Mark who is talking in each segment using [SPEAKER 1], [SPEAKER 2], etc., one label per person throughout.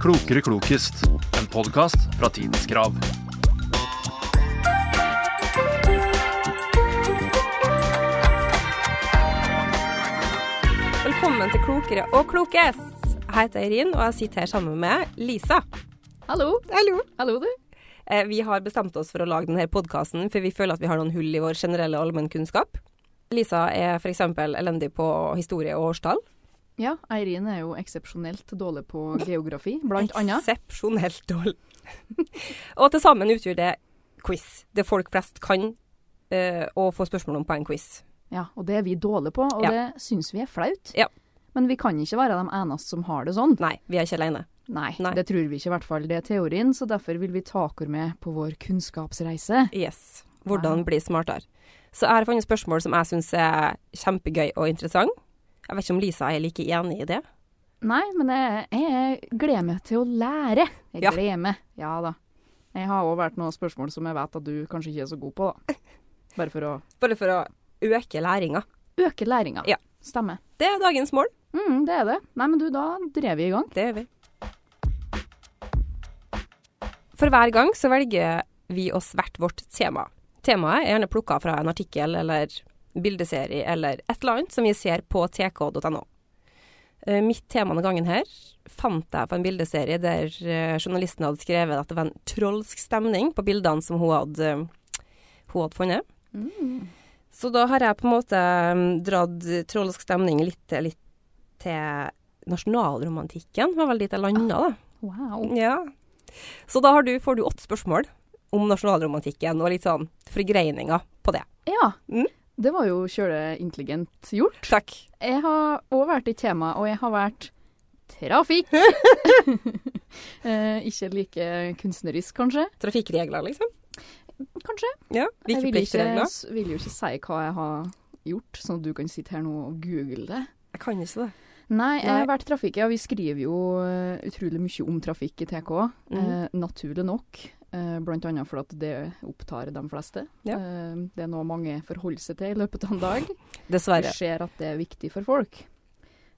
[SPEAKER 1] Klokere klokest, en podkast fra Tidens Krav.
[SPEAKER 2] Velkommen til Klokere og klokest. Jeg heter Eirin, og jeg sitter her sammen med Lisa.
[SPEAKER 3] Hallo.
[SPEAKER 2] Hallo.
[SPEAKER 3] Hallo, du.
[SPEAKER 2] Eh, Vi har bestemt oss for å lage denne podkasten, for vi føler at vi har noen hull i vår generelle allmennkunnskap. Lisa er f.eks. elendig på historie og årstall.
[SPEAKER 3] Ja, Eirin er jo eksepsjonelt dårlig på geografi, blant annet.
[SPEAKER 2] Eksepsjonelt dårlig. og til sammen utgjør det quiz. Det folk flest kan eh, å få spørsmål om på en quiz.
[SPEAKER 3] Ja, og det er vi dårlige på, og
[SPEAKER 2] Ja.
[SPEAKER 3] det syns vi er flaut.
[SPEAKER 2] Ja.
[SPEAKER 3] Men vi kan ikke være de eneste som har det sånn.
[SPEAKER 2] Nei, vi er ikke alene.
[SPEAKER 3] Nei,
[SPEAKER 2] Nei.
[SPEAKER 3] det tror vi ikke i hvert fall. Det er teorien, så derfor vil vi ta dere med på vår kunnskapsreise.
[SPEAKER 2] Yes. Hvordan bli smartere. Så jeg har funnet spørsmål som jeg syns er kjempegøy og interessant. Jeg vet ikke om Lisa er like enig i det.
[SPEAKER 3] Nei, men jeg, jeg gleder meg til å lære. Jeg
[SPEAKER 2] Ja.
[SPEAKER 3] gleder meg. Ja da. Jeg har òg vært noen spørsmål som jeg vet at du kanskje ikke er så god på, da. Bare for å
[SPEAKER 2] Bare for å øke læringa.
[SPEAKER 3] øke læringa.
[SPEAKER 2] Ja.
[SPEAKER 3] Stemmer.
[SPEAKER 2] Det er dagens mål.
[SPEAKER 3] Mm, det er det. Nei, men du, da drev vi i gang.
[SPEAKER 2] Det gjør vi. For hver gang så velger vi oss hvert vårt tema. Temaet er gjerne plukka fra en artikkel eller bildeserie eller et eller annet som vi ser på tk.no. Eh, Mitt tema denne gangen her fant jeg på en bildeserie der eh, journalisten hadde skrevet at det var en trolsk stemning på bildene som hun hadde, eh, hun hadde funnet. Mm. Så da har jeg på en måte mm, dratt trolsk stemning litt, litt til nasjonalromantikken. Det var vel dit jeg landa, da.
[SPEAKER 3] Wow.
[SPEAKER 2] Ah. Ja. Så da har du, får du åtte spørsmål om nasjonalromantikken og litt sånn forgreininger på det.
[SPEAKER 3] Ja.
[SPEAKER 2] Mm.
[SPEAKER 3] Det var jo kjøleintelligent gjort.
[SPEAKER 2] Takk.
[SPEAKER 3] Jeg har òg vært i tema, og jeg har vært trafikk. eh, ikke like kunstnerisk, kanskje.
[SPEAKER 2] Trafikkregler, liksom.
[SPEAKER 3] Kanskje.
[SPEAKER 2] Ja.
[SPEAKER 3] jeg vil, ikke,
[SPEAKER 2] Vikepliktregler.
[SPEAKER 3] s- vil jo ikke si hva jeg har gjort, sånn at du kan sitte her nå og google det.
[SPEAKER 2] Jeg kan ikke det.
[SPEAKER 3] Nei, jeg
[SPEAKER 2] Nei.
[SPEAKER 3] har vært trafikk, ja. Vi skriver jo eh, utrolig mye om trafikk i TK. Eh,
[SPEAKER 2] Mhm.
[SPEAKER 3] naturlig nok. Eh, blant annet fordi det opptar de fleste.
[SPEAKER 2] Ja.
[SPEAKER 3] Eh, det er noe mange forholder seg til i løpet av en dag.
[SPEAKER 2] Dessverre.
[SPEAKER 3] Vi ser at det er viktig for folk.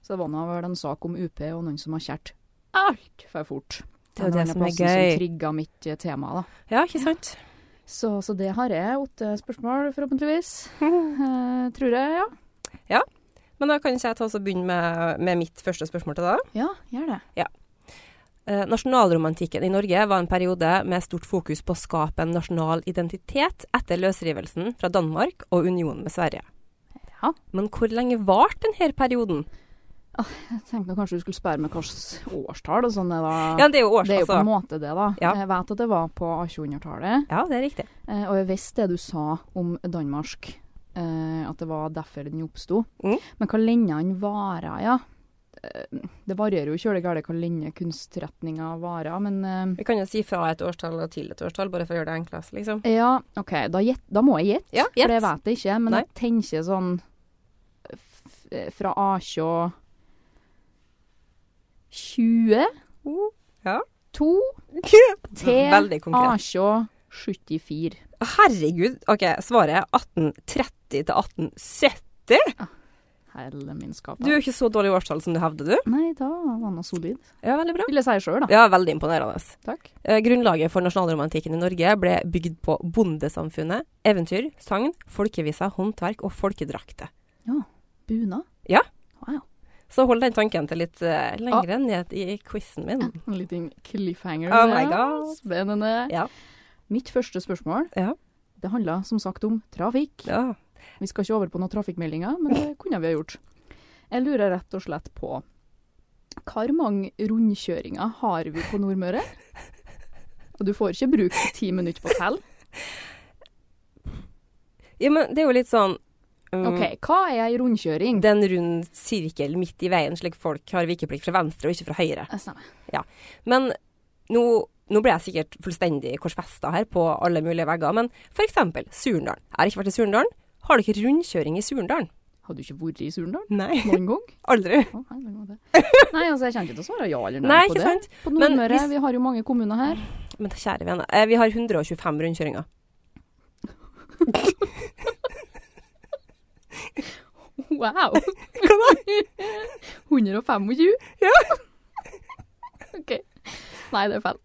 [SPEAKER 3] Så det var nå vel en sak om UP og noen som har kjært altfor fort.
[SPEAKER 2] Det er jo det
[SPEAKER 3] en
[SPEAKER 2] som
[SPEAKER 3] annen
[SPEAKER 2] er
[SPEAKER 3] plassen
[SPEAKER 2] gøy.
[SPEAKER 3] Som trigga mitt eh, tema, da.
[SPEAKER 2] Ja, ikke sant?
[SPEAKER 3] Så, så det har jeg. Åtte spørsmål, forhåpentligvis. Eh, tror jeg, ja.
[SPEAKER 2] Men da kan ikke jeg ta oss og begynne med, med mitt første spørsmål til deg.
[SPEAKER 3] Ja, gjør det.
[SPEAKER 2] Eh, Nasjonalromantikken i Norge var en periode med stort fokus på å skape en nasjonal identitet etter løsrivelsen fra Danmark og unionen med Sverige.
[SPEAKER 3] Ja.
[SPEAKER 2] Men hvor lenge varte denne perioden?
[SPEAKER 3] Jeg tenkte nå kanskje du skulle spørre meg hvilket årstall og sånn. det da-
[SPEAKER 2] Ja, det er jo års,
[SPEAKER 3] Det er jo på en
[SPEAKER 2] altså.
[SPEAKER 3] måte det, da.
[SPEAKER 2] Ja.
[SPEAKER 3] Jeg vet at det var på 1800-tallet.
[SPEAKER 2] Ja, det er riktig.
[SPEAKER 3] eh, Og jeg visste det du sa om Danmark, eh, at det var derfor den oppsto.
[SPEAKER 2] Mm.
[SPEAKER 3] Men hva lenge den varer, ja. Eh, Det varierer jo kjølig galt hva lenge kunstretninga varer, men eh,
[SPEAKER 2] Vi kan jo si fra et årstall og til et årstall, bare for å gjøre det enklest, liksom.
[SPEAKER 3] eh, Ja, OK, da, gjett- da må jeg gjette,
[SPEAKER 2] Ja,
[SPEAKER 3] for det
[SPEAKER 2] gjett.
[SPEAKER 3] vet jeg ikke. Men
[SPEAKER 2] Nei.
[SPEAKER 3] jeg tenker sånn f eh, fra Akjå 20
[SPEAKER 2] Oh, ja.
[SPEAKER 3] 2 til
[SPEAKER 2] Veldig konkret.
[SPEAKER 3] Akjå 74.
[SPEAKER 2] Herregud. OK, svaret er 1830 til 1870.
[SPEAKER 3] Helle min skapa.
[SPEAKER 2] Du er jo ikke så dårlig i årstall som du hevder, du.
[SPEAKER 3] Nei, da var han solid.
[SPEAKER 2] Ja, veldig bra.
[SPEAKER 3] Vil jeg si sjøl, da.
[SPEAKER 2] Ja, veldig imponerende.
[SPEAKER 3] Takk.
[SPEAKER 2] Eh, Grunnlaget for nasjonalromantikken i Norge ble bygd på bondesamfunnet, eventyr, sagn, folkeviser, håndverk og folkedrakter.
[SPEAKER 3] Bunad.
[SPEAKER 2] Så hold den tanken til litt eh,
[SPEAKER 3] Ah.
[SPEAKER 2] lengre ned i quizen min.
[SPEAKER 3] En liten cliffhanger.
[SPEAKER 2] Mm. Oh my
[SPEAKER 3] der.
[SPEAKER 2] god.
[SPEAKER 3] Spennende.
[SPEAKER 2] Ja.
[SPEAKER 3] Mitt første spørsmål
[SPEAKER 2] Ja.
[SPEAKER 3] det handla som sagt om trafikk.
[SPEAKER 2] Ja.
[SPEAKER 3] Vi skal ikke over på noen trafikkmeldinger, men det kunne vi ha gjort. Jeg lurer rett og slett på hvor mange rundkjøringer har vi på Nordmøre? Og du får ikke bruke ti minutter på å telle.
[SPEAKER 2] ja, men det er jo litt sånn mm,
[SPEAKER 3] OK, hva er ei rundkjøring?
[SPEAKER 2] Det er en rund sirkel midt i veien, slik folk har vikeplikt fra venstre og ikke fra høyre.
[SPEAKER 3] Jeg stemmer.
[SPEAKER 2] Men nå, nå ble jeg sikkert fullstendig korsfesta her på alle mulige vegger, men for eksempel Surndalen. Jeg har ikke vært i Surndalen. Har dere rundkjøring i Surndalen?
[SPEAKER 3] Har du ikke vært i Surndal
[SPEAKER 2] Nei.
[SPEAKER 3] noen gang?
[SPEAKER 2] Aldri.
[SPEAKER 3] Å, nei, det var det. Nei, altså jeg kommer ikke til å svare ja eller nei,
[SPEAKER 2] Nei,
[SPEAKER 3] på
[SPEAKER 2] ikke
[SPEAKER 3] det.
[SPEAKER 2] sant?
[SPEAKER 3] På
[SPEAKER 2] Men
[SPEAKER 3] Nordmøre,
[SPEAKER 2] hvis-
[SPEAKER 3] vi har jo mange kommuner her.
[SPEAKER 2] Men kjære vene, eh, vi har 125 rundkjøringer.
[SPEAKER 3] Wow! 125? Ja. OK. Nei, det er feil.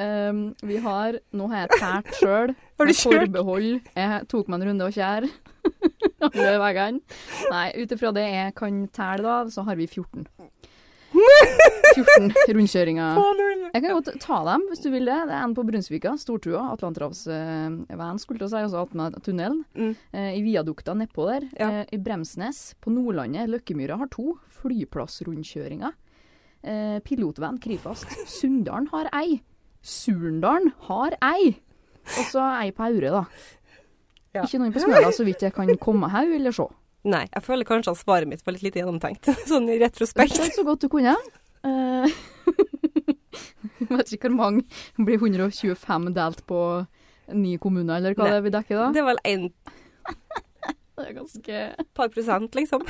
[SPEAKER 3] Ehm, vi har Nå har jeg tært sjøl.
[SPEAKER 2] Har du kjørt?
[SPEAKER 3] Forbehold. Jeg tok meg en runde og kjær. Alle veiene. Nei, ut ifra det jeg kan telle, da, så har vi 14. 14 rundkjøringer. Jeg kan godt ta dem hvis du vil det. Det er en på Brunsvika, Stortua, Atlanterhavsveien, skulle jeg til å si, altså attmed tunnelen.
[SPEAKER 2] Mm.
[SPEAKER 3] Eh, I viadukta nedpå der.
[SPEAKER 2] Ja.
[SPEAKER 3] Eh, I Bremsnes, på Nordlandet, Løkkemyra har to flyplassrundkjøringer. Eh, pilotveien Krifast. Sunndalen har ei. Surndalen har ei. Og så ei på Aure, da.
[SPEAKER 2] Ja.
[SPEAKER 3] Ikke noen på Smøla, så vidt jeg kan komme her, vil jeg se.
[SPEAKER 2] Nei, jeg føler kanskje at svaret mitt var litt lite gjennomtenkt. Sånn i retrospekt.
[SPEAKER 3] Respekt. Så godt du kunne. Eh, Jeg vet ikke hvor mange. Det blir 125 delt på ni kommuner, eller hva
[SPEAKER 2] Nei.
[SPEAKER 3] det vil dekke da?
[SPEAKER 2] Det er vel en
[SPEAKER 3] Det er ganske...
[SPEAKER 2] par prosent, liksom.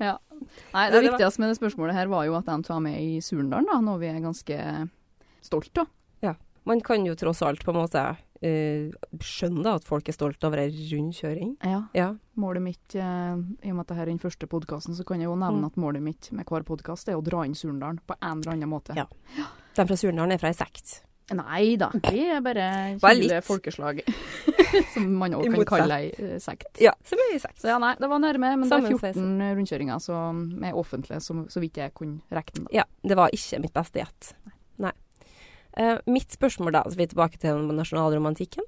[SPEAKER 3] Nei,
[SPEAKER 2] Ja,
[SPEAKER 3] det
[SPEAKER 2] det var-
[SPEAKER 3] viktigste med det spørsmålet her var jo at de tar med i Surndalen, da, noe vi er ganske stolt av.
[SPEAKER 2] Man kan jo tross alt på en måte eh, skjønne da at folk er stolt over ei rundkjøring.
[SPEAKER 3] Ja.
[SPEAKER 2] Ja.
[SPEAKER 3] Målet mitt, eh, i og med at dette er den første podkasten, så kan jeg jo nevne at målet mitt med hver podkast er å dra inn Surndalen på en eller annen måte.
[SPEAKER 2] Ja. De fra Surnadal er fra ei sekt.
[SPEAKER 3] Nei da, vi er bare
[SPEAKER 2] Bare
[SPEAKER 3] kjedelige
[SPEAKER 2] litt.
[SPEAKER 3] folkeslag. Som man òg
[SPEAKER 2] I
[SPEAKER 3] kan
[SPEAKER 2] motsatt.
[SPEAKER 3] kalle ei eh, sekt.
[SPEAKER 2] Ja, som er ei sekt.
[SPEAKER 3] Så ja, nei, det var nærme, men det er
[SPEAKER 2] Sammensveisen.
[SPEAKER 3] 14 rundkjøringer som er offentlige, som, så vidt jeg kunne rekke den. da.
[SPEAKER 2] Ja, det var ikke mitt beste gjett. Nei. Eh, mitt spørsmål da, så vi er tilbake til den nasjonalromantikken.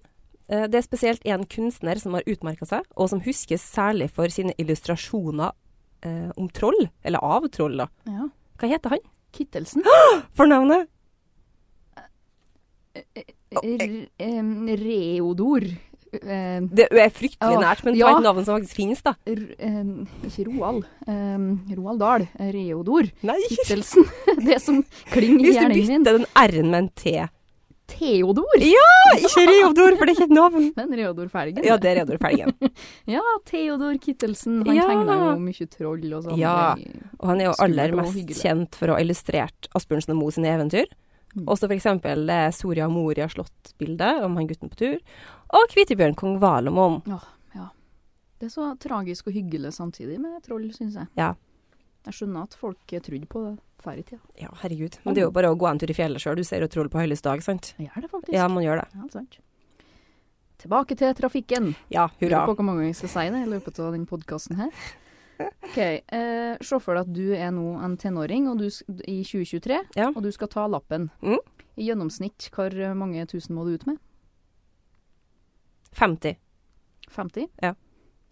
[SPEAKER 2] Eh, det er spesielt en kunstner som har utmerka seg, og som huskes særlig for sine illustrasjoner eh, om troll, eller av troll, da.
[SPEAKER 3] Ja.
[SPEAKER 2] Hva heter han?
[SPEAKER 3] Kittelsen.
[SPEAKER 2] Fornavnet? eh.
[SPEAKER 3] R- em, Reodor. Em,
[SPEAKER 2] Det er fryktelig
[SPEAKER 3] Ja.
[SPEAKER 2] nært, men ta
[SPEAKER 3] Ja.
[SPEAKER 2] et navn som faktisk finnes, da.
[SPEAKER 3] r- em, Ikke Roald. Em, Roald Dahl. Reodor.
[SPEAKER 2] Nei!
[SPEAKER 3] Kittelsen. Det som klinger i
[SPEAKER 2] Hvis du
[SPEAKER 3] hjernen min.
[SPEAKER 2] bytter den R-en med en T. Ah,
[SPEAKER 3] Theodor.
[SPEAKER 2] Ikke Reodor, for det er ikke et navn.
[SPEAKER 3] Den Reodor Felgen.
[SPEAKER 2] Ja, det er Reodor Felgen.
[SPEAKER 3] Ja, Theodor Kittelsen. Han
[SPEAKER 2] Ja.
[SPEAKER 3] tegna jo mye troll og sånn.
[SPEAKER 2] Ja. Og han er jo aller
[SPEAKER 3] Skummelt og
[SPEAKER 2] mest
[SPEAKER 3] hyggelig.
[SPEAKER 2] kjent for å ha illustrert Asbjørnsen og Moe sine eventyr.
[SPEAKER 3] Mm.
[SPEAKER 2] Også for eksempel det Soria Moria slott-bildet om han gutten på tur. Og Kvitebjørn kong Valemon.
[SPEAKER 3] Det er så tragisk og hyggelig samtidig med troll, syns jeg.
[SPEAKER 2] Ja.
[SPEAKER 3] Jeg skjønner at folk trodde på det før i tida.
[SPEAKER 2] Ja, herregud. Men det er jo bare å gå en tur i fjellet sjøl. Du ser jo troll på høylys dag, sant?
[SPEAKER 3] Jeg gjør det faktisk.
[SPEAKER 2] Ja, man gjør det.
[SPEAKER 3] Ja, sant. Tilbake til trafikken.
[SPEAKER 2] Ja, hurra.
[SPEAKER 3] Lurer på hvor mange ganger jeg skal si det i løpet av denne podkasten her. OK. Eh, Se for deg at du er nå en tenåring og du, s- i 2023,
[SPEAKER 2] Ja.
[SPEAKER 3] og du skal ta lappen.
[SPEAKER 2] Mm.
[SPEAKER 3] I gjennomsnitt, hvor mange tusen må du ut med?
[SPEAKER 2] 50.
[SPEAKER 3] 50?
[SPEAKER 2] Ja.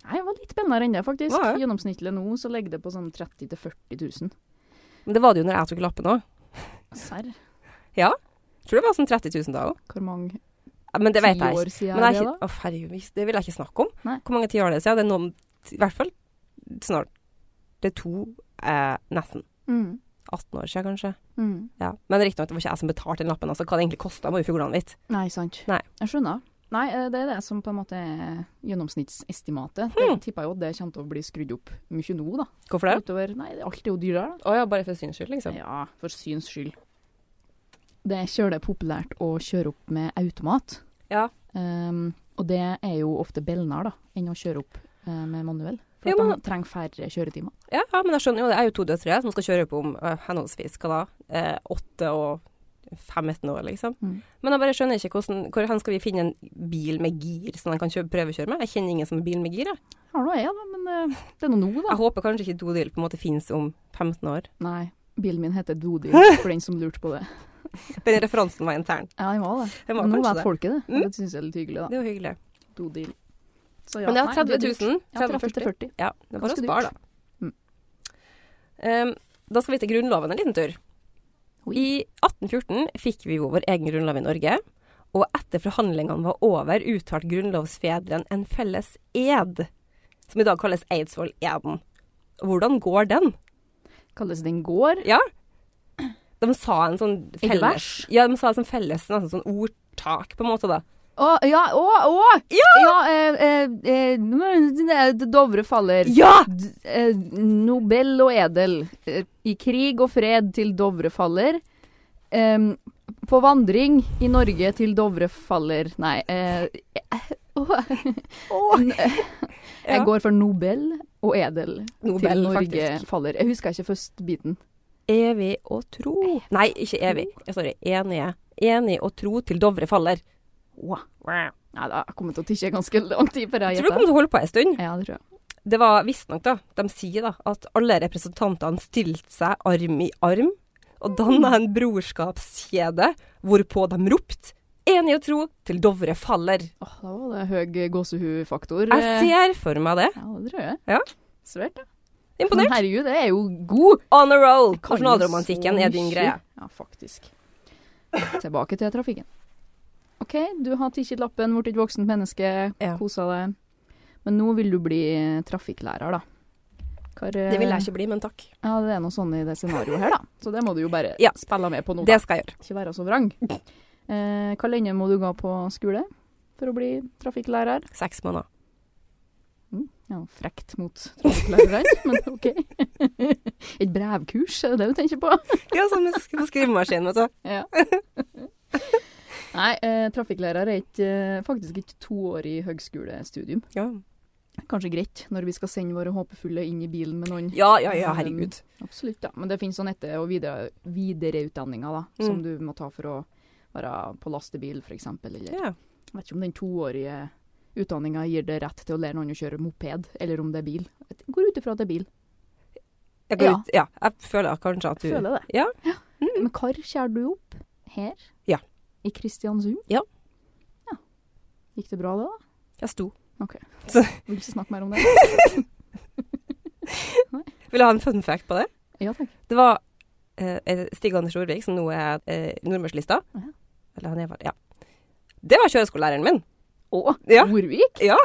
[SPEAKER 3] Nei, det var litt spennende enn det, faktisk.
[SPEAKER 2] Ja, ja.
[SPEAKER 3] Gjennomsnittlig nå så ligger det på sånn 30 000-40 000.
[SPEAKER 2] Men det var det jo når jeg tok lappen òg.
[SPEAKER 3] Serr,
[SPEAKER 2] Tror det var sånn 30 000 da òg.
[SPEAKER 3] hvor mange
[SPEAKER 2] Men det vet jeg ikke.
[SPEAKER 3] tiår siden
[SPEAKER 2] Men
[SPEAKER 3] er
[SPEAKER 2] jeg, er
[SPEAKER 3] det,
[SPEAKER 2] ikke-
[SPEAKER 3] da?
[SPEAKER 2] Å, herregud, det vil jeg ikke snakke om.
[SPEAKER 3] Nei.
[SPEAKER 2] Hvor mange tiår er det siden? Det er noen I hvert fall snart Det er to, eh, nesten
[SPEAKER 3] Mm.
[SPEAKER 2] 18 år siden, kanskje.
[SPEAKER 3] Mm.
[SPEAKER 2] Ja. Men riktignok, det var ikke jeg som betalte den lappen. Altså, hva det egentlig kosta, må jo fuglene vite.
[SPEAKER 3] Nei, sant.
[SPEAKER 2] Nei.
[SPEAKER 3] Jeg skjønner. Nei, eh, det er det som på en måte er gjennomsnittsestimatet.
[SPEAKER 2] Mm.
[SPEAKER 3] Jeg tipper jo at det kommer til å bli skrudd opp mye nå, da.
[SPEAKER 2] Hvorfor det?
[SPEAKER 3] Utover, nei, det er alltid jo dyrere,
[SPEAKER 2] Å ja, bare for syns skyld,
[SPEAKER 3] da.
[SPEAKER 2] liksom.
[SPEAKER 3] Ja, for syns skyld. Det er kjølig populært å kjøre opp med automat.
[SPEAKER 2] Ja.
[SPEAKER 3] Ehm, og det er jo ofte billigere, da, enn å kjøre opp eh, med manuell. For
[SPEAKER 2] Jo,
[SPEAKER 3] at
[SPEAKER 2] men-
[SPEAKER 3] de trenger færre kjøretimer.
[SPEAKER 2] Ja, ja, men jeg skjønner jo det. Jeg er jo to døtre som skal kjøre opp om eh, henholdsvis hva da, eh, åtte og 15 år, liksom.
[SPEAKER 3] Mm.
[SPEAKER 2] Men jeg bare skjønner ikke hvordan, hvor hen skal vi finne en bil med gir som de kan kjø- prøvekjøre med? Jeg kjenner ingen som har bil med gir, jeg.
[SPEAKER 3] Ja, nå er jeg, da, men eh, det er nå nå, da.
[SPEAKER 2] Jeg håper kanskje ikke Dodil på en måte finnes om 15 år.
[SPEAKER 3] Nei, bilen min heter Dodi, for den som lurte på det.
[SPEAKER 2] Den referansen var intern.
[SPEAKER 3] Ja, den var det.
[SPEAKER 2] Den var
[SPEAKER 3] Men nå
[SPEAKER 2] kanskje
[SPEAKER 3] vet
[SPEAKER 2] det.
[SPEAKER 3] folket det.
[SPEAKER 2] Mm.
[SPEAKER 3] og Det syns jeg er litt hyggelig, da.
[SPEAKER 2] Det er jo hyggelig.
[SPEAKER 3] Dodi. Så
[SPEAKER 2] Men det
[SPEAKER 3] nei,
[SPEAKER 2] er 30
[SPEAKER 3] dyrt.
[SPEAKER 2] 000.
[SPEAKER 3] Ja, 30
[SPEAKER 2] 40.
[SPEAKER 3] 40.
[SPEAKER 2] Ja, det er bare å
[SPEAKER 3] Ganske
[SPEAKER 2] spare, da. Um, da skal vi til Grunnloven en liten tur.
[SPEAKER 3] Oi.
[SPEAKER 2] I 1814 fikk vi jo vår egen grunnlov i Norge, og etter forhandlingene var over, uttalte grunnlovsfedrene en felles ed, som i dag kalles Eidsvoll-eden. Hvordan går den?
[SPEAKER 3] Kalles den gård?
[SPEAKER 2] De sa en sånn
[SPEAKER 3] Er det
[SPEAKER 2] felles
[SPEAKER 3] vers?
[SPEAKER 2] Ja, de sa en sånn felles nesten sånn ordtak, på en måte, da.
[SPEAKER 3] Å, ja, å, å! Ja! eh, eh, eh, nå er det Dovre faller.
[SPEAKER 2] Ja!
[SPEAKER 3] D- eh, Nobel og edel. Eh, I krig og fred til Dovre faller. Em, på vandring i Norge til Dovre faller. Nei eh, eh, åh. N- eh,
[SPEAKER 2] Ja.
[SPEAKER 3] Jeg går for Nobel og edel
[SPEAKER 2] Nobel,
[SPEAKER 3] til Norge
[SPEAKER 2] faktisk.
[SPEAKER 3] faller. Jeg husker ikke først biten.
[SPEAKER 2] evig og tro Nei, ikke evig. Jeg Sorry. Enige. Enig og tro til Dovre faller.
[SPEAKER 3] Wow.
[SPEAKER 2] Wow.
[SPEAKER 3] Nei, da, jeg kommer til å tikke ganske lang tid før jeg
[SPEAKER 2] Tror du kommer til å holde på en stund?
[SPEAKER 3] Ja, det tror jeg.
[SPEAKER 2] Det var visstnok, da, de sier da, at alle representantene stilte seg arm i arm og danna en brorskapskjede, hvorpå de ropte 'Enig og tro til Dovre faller'.
[SPEAKER 3] Åh, da var det høy gåsehudfaktor.
[SPEAKER 2] Jeg ser for meg det.
[SPEAKER 3] Ja, det tror jeg.
[SPEAKER 2] Ja.
[SPEAKER 3] Svært, da. Men
[SPEAKER 2] Imponert.
[SPEAKER 3] herregud, det er jo god.
[SPEAKER 2] On a roll!
[SPEAKER 3] Kan jo
[SPEAKER 2] Nasjonalromantikken
[SPEAKER 3] så
[SPEAKER 2] er din
[SPEAKER 3] mye.
[SPEAKER 2] greie.
[SPEAKER 3] Ja, faktisk. Tilbake til trafikken. OK, du har tikket lappen, blitt et voksent menneske,
[SPEAKER 2] Ja.
[SPEAKER 3] kosa deg. Men nå vil du bli trafikklærer, da. Hva er-
[SPEAKER 2] Det vil jeg ikke bli, men takk.
[SPEAKER 3] Ja, det er noe sånn i det scenarioet her, da. Så det må du jo bare
[SPEAKER 2] Ja.
[SPEAKER 3] spille med på nå. da.
[SPEAKER 2] Det skal jeg gjøre.
[SPEAKER 3] Ikke være så vrang. Eh, hva lenge må du gå på skole for å bli trafikklærer?
[SPEAKER 2] Seks måneder.
[SPEAKER 3] Ja, frekt mot trafikklærerne, men OK. Et brevkurs, er det det du tenker på?
[SPEAKER 2] Ja, sånn med sk- på skrivemaskinen, vet du.
[SPEAKER 3] Ja. Nei, eh, trafikklærer er ikke, eh, faktisk ikke toårig høgskolestudium.
[SPEAKER 2] Ja.
[SPEAKER 3] Kanskje greit når vi skal sende våre håpefulle inn i bilen med noen.
[SPEAKER 2] ja, ja, ja, herregud.
[SPEAKER 3] Absolutt, ja. Men det finnes sånn etter- og videre, videreutdanninger da, som du må ta for å være på lastebil, f.eks. Eller
[SPEAKER 2] Ja.
[SPEAKER 3] jeg vet ikke om den toårige utdanninga gir deg rett til å lære noen å kjøre moped, eller om det er bil. Jeg går ut ifra at det er bil.
[SPEAKER 2] Jeg går
[SPEAKER 3] Ja.
[SPEAKER 2] ut. Ja, jeg føler kanskje at du
[SPEAKER 3] Føler det.
[SPEAKER 2] Ja. Mm.
[SPEAKER 3] Men hvor skjærer du opp? Her?
[SPEAKER 2] Ja.
[SPEAKER 3] I Kristiansund?
[SPEAKER 2] Ja.
[SPEAKER 3] ja. Gikk det bra, det, da?
[SPEAKER 2] Jeg sto.
[SPEAKER 3] Vil ikke snakke mer om det.
[SPEAKER 2] Vil du ha en fun fact på det?
[SPEAKER 3] Ja takk.
[SPEAKER 2] Det var eh, Stig Anders Orvik, som nå er eh, nordmørslista.
[SPEAKER 3] Ja.
[SPEAKER 2] Eller han er vel- Ja. Det var kjøreskolelæreren min.
[SPEAKER 3] Å,
[SPEAKER 2] Ja.
[SPEAKER 3] Orvik?
[SPEAKER 2] Ja.